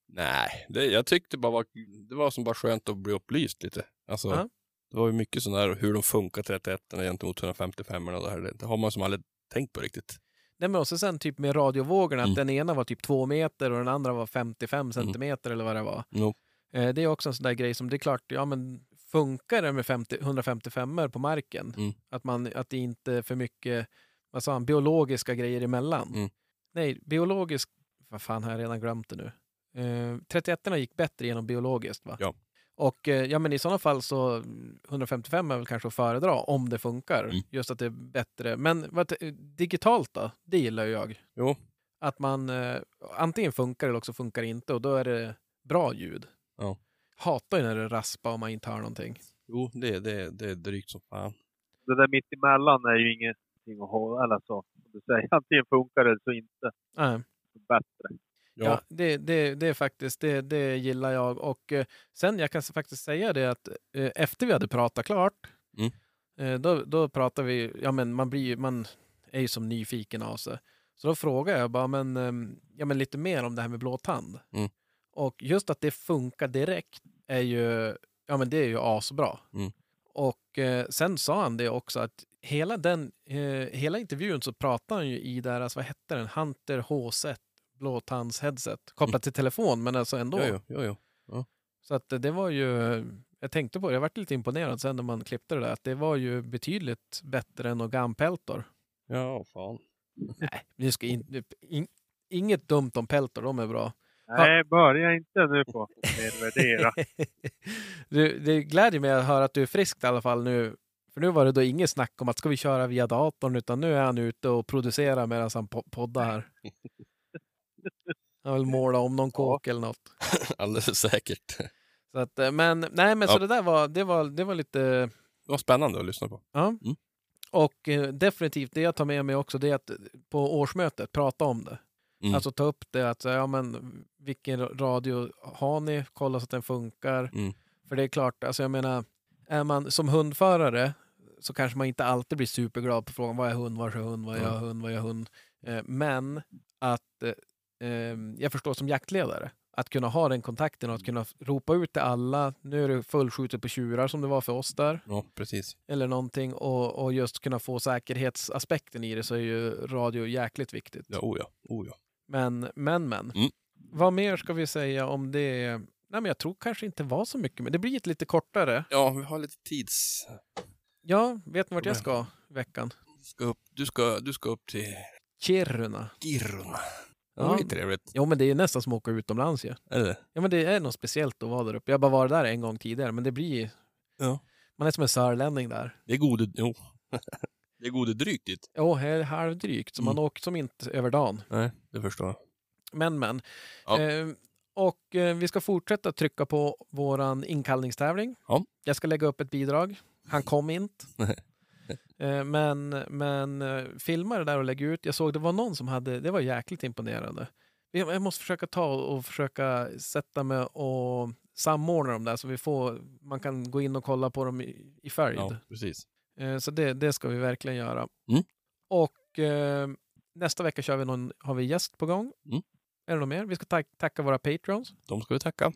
Speaker 4: Nej, det, jag tyckte bara var, det var som bara skönt att bli upplyst lite. Alltså,
Speaker 3: Ja.
Speaker 4: det var ju mycket sån där hur de funkar 31 gentemot 155 och det här. Det har man som aldrig tänkt på riktigt.
Speaker 3: Nej, men också sen typ med radiovågorna,
Speaker 4: Mm.
Speaker 3: att den ena var typ två meter och den andra var 55 centimeter eller vad det var.
Speaker 4: Jo.
Speaker 3: Eh, det är också en sån där grej som, det är klart, ja men funkar det med 50, 155 på marken?
Speaker 4: Mm.
Speaker 3: Att, man, att det inte är för mycket, vad sa han, biologiska grejer emellan?
Speaker 4: Mm.
Speaker 3: Nej, biologisk, vad fan har jag redan glömt det nu? Eh, 31 gick bättre genom biologiskt va?
Speaker 4: Ja.
Speaker 3: Och eh, ja, men i sådana fall så mm, 155 är väl kanske att föredra om det funkar.
Speaker 4: Mm.
Speaker 3: Just att det är bättre. Men vad, digitalt då? Det gillar ju jag.
Speaker 4: Jo.
Speaker 3: Att man eh, antingen funkar eller också funkar inte och då är det bra ljud.
Speaker 4: Ja.
Speaker 3: Hatar ju när det raspar om man inte hör någonting.
Speaker 4: Jo, det, det, det är drygt som fan.
Speaker 5: Det där mittemellan är ju ingenting att ha, eller så. Som du säger, antingen funkar det så inte.
Speaker 3: Nej.
Speaker 5: Bättre.
Speaker 4: Ja,
Speaker 3: Ja, det, det, det är faktiskt, det, det gillar jag. Och eh, sen, jag kan s- faktiskt säga det att eh, efter vi hade pratat klart,
Speaker 4: Mm.
Speaker 3: eh, då, då pratade vi, ja men man blir ju, man är ju som nyfiken av sig. Så då frågade jag bara, men, ehm, ja, men lite mer om det här med blåtand.
Speaker 4: Mm.
Speaker 3: Och just att det funkar direkt är ju, ja men det är ju asbra.
Speaker 4: Mm.
Speaker 3: Och eh, sen sa han det också att hela den, eh, hela intervjun så pratade han ju i deras, vad hette den, Hunter HZ blåtandsheadset kopplat till telefon men alltså ändå.
Speaker 4: Mm. jo, jo, jo, jo.
Speaker 3: Så att eh, det var ju, jag tänkte på det, jag vart lite imponerad sen när man klippte det där, att det var ju betydligt bättre än Ogan-peltor.
Speaker 4: ja fan.
Speaker 3: Nej, nu ska in,
Speaker 4: Mm.
Speaker 3: nu- in, inget dumt om peltor, de är bra.
Speaker 5: Nej, börja inte nu på nedvärdera.
Speaker 3: du, det gläder mig att höra att du är frisk i alla fall nu. För nu var det då inget snack om att ska vi köra via datorn, utan nu är han ute och producerar medan han po- poddar här. Han vill måla om någon kåk eller något.
Speaker 4: Alldeles säkert.
Speaker 3: Så att, eh, men nej, men så
Speaker 4: Ja.
Speaker 3: det där var, det var, det var lite...
Speaker 4: Det var spännande att lyssna på.
Speaker 3: Ja.
Speaker 4: Mm.
Speaker 3: Och eh, definitivt, det jag tar med mig också, det är att eh, på årsmötet prata om det.
Speaker 4: Mm.
Speaker 3: Alltså ta upp det att, så här, ja men vilken radio har ni? Kolla så att den funkar.
Speaker 4: Mm.
Speaker 3: För det är klart, alltså jag menar, är man som hundförare så kanske man inte alltid blir superglad på frågan vad är hund, var är hund, vad är jag
Speaker 4: Mm.
Speaker 3: hund, vad är jag hund? Eh, Men att eh, eh, jag förstår som jaktledare, att kunna ha den kontakten och att kunna ropa ut till alla, nu är det fullskjutet på tjurar som det var för oss där
Speaker 4: Ja, precis.
Speaker 3: eller någonting och, och just kunna få säkerhetsaspekten i det så är ju radio jäkligt viktigt.
Speaker 4: Ja, oh ja. Oh ja.
Speaker 3: Men, men, men.
Speaker 4: Mm.
Speaker 3: Vad mer ska vi säga om det? Nej, men jag tror kanske inte var så mycket, men det blir ett lite kortare.
Speaker 4: ja, vi har lite tids...
Speaker 3: Ja, vet ni vart jag ska i veckan?
Speaker 4: Ska upp. Du, ska, du ska upp till
Speaker 3: Kiruna.
Speaker 4: Kiruna. Det
Speaker 3: Ja.
Speaker 4: var ju trevligt.
Speaker 3: Jo, men det är ju nästan som att åka utomlands ju.
Speaker 4: Eller?
Speaker 3: Ja, men det är något speciellt att vara där uppe. Jag har bara varit där en gång tidigare, men det blir...
Speaker 4: Ja.
Speaker 3: Man är som en sörlänning där.
Speaker 4: Det är gode... Jo. det är gode drygt dit.
Speaker 3: Jo, här är halvdrygt, så
Speaker 4: Mm.
Speaker 3: man åker som inte över dagen.
Speaker 4: Nej, det förstår jag.
Speaker 3: Men, men.
Speaker 4: Ja.
Speaker 3: Eh, och eh, vi ska fortsätta trycka på våran inkallningstävling.
Speaker 4: Ja.
Speaker 3: Jag ska lägga upp ett bidrag. Han kom inte. Eh, Men, men eh, filma det där och lägga ut. Jag såg det var någon som hade, det var jäkligt imponerande. Jag jag måste försöka ta och försöka sätta mig och samordna dem där så vi får, man kan gå in och kolla på dem i, i följd.
Speaker 4: Ja, precis.
Speaker 3: Eh, Så det, det ska vi verkligen göra.
Speaker 4: Mm.
Speaker 3: Och eh, nästa vecka kör vi någon, har vi gäst på gång.
Speaker 4: Mm.
Speaker 3: Är det något mer? Vi ska tack- tacka våra patrons.
Speaker 4: De ska vi tacka.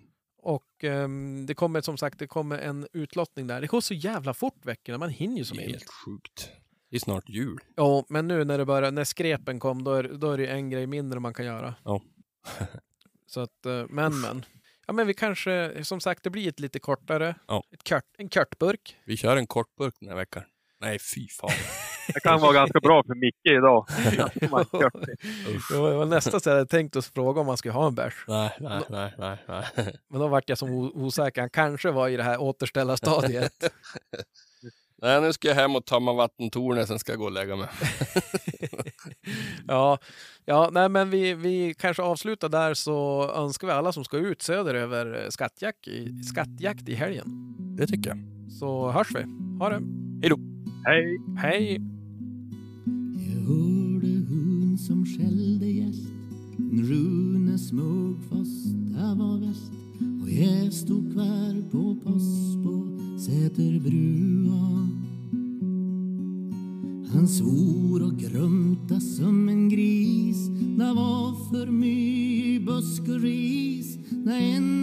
Speaker 3: Och ehm, det kommer som sagt det kommer en utlottning där. Det går så jävla fort veckorna, man hinner ju som
Speaker 4: Det är
Speaker 3: helst.
Speaker 4: helt sjukt. Det är snart jul.
Speaker 3: Ja, men nu när det börjar, när skrepen kom, då är, då är det ju en grej mindre man kan göra.
Speaker 4: Ja.
Speaker 3: så att, eh, men men. Ja, men vi kanske, som sagt, det blir ett lite kortare,
Speaker 4: Ja.
Speaker 3: ett kört, en körtburk.
Speaker 4: Vi kör en kortburk den här veckan. Nej, fy fan.
Speaker 5: Det kan vara ganska bra för Micke idag. Man kör.
Speaker 4: Usch.
Speaker 3: det var nästan så jag hade tänkt att fråga om man skulle ha en bärs.
Speaker 4: Nej, nej, nej, nej, nej.
Speaker 3: Men då vart jag som o- osäker. Han kanske var i det här återställarstadiet.
Speaker 4: Nej, nu ska jag hem och tömma vattentornet, sen ska jag gå och lägga mig.
Speaker 3: ja, ja nej, men vi, vi kanske avslutar där så önskar vi alla som ska ut söderöver eh, skattjakt i, skattjakt i helgen.
Speaker 4: Det tycker jag.
Speaker 3: Så hörs vi. Ha det.
Speaker 5: Hej!
Speaker 3: Hej!
Speaker 2: Jag hörde hon som skällde gäst Rune smög fast det var väst Och jag stod kvar på pass på Säterbrua Han svor och grumta som en gris Det var för mycket busk och ris Det en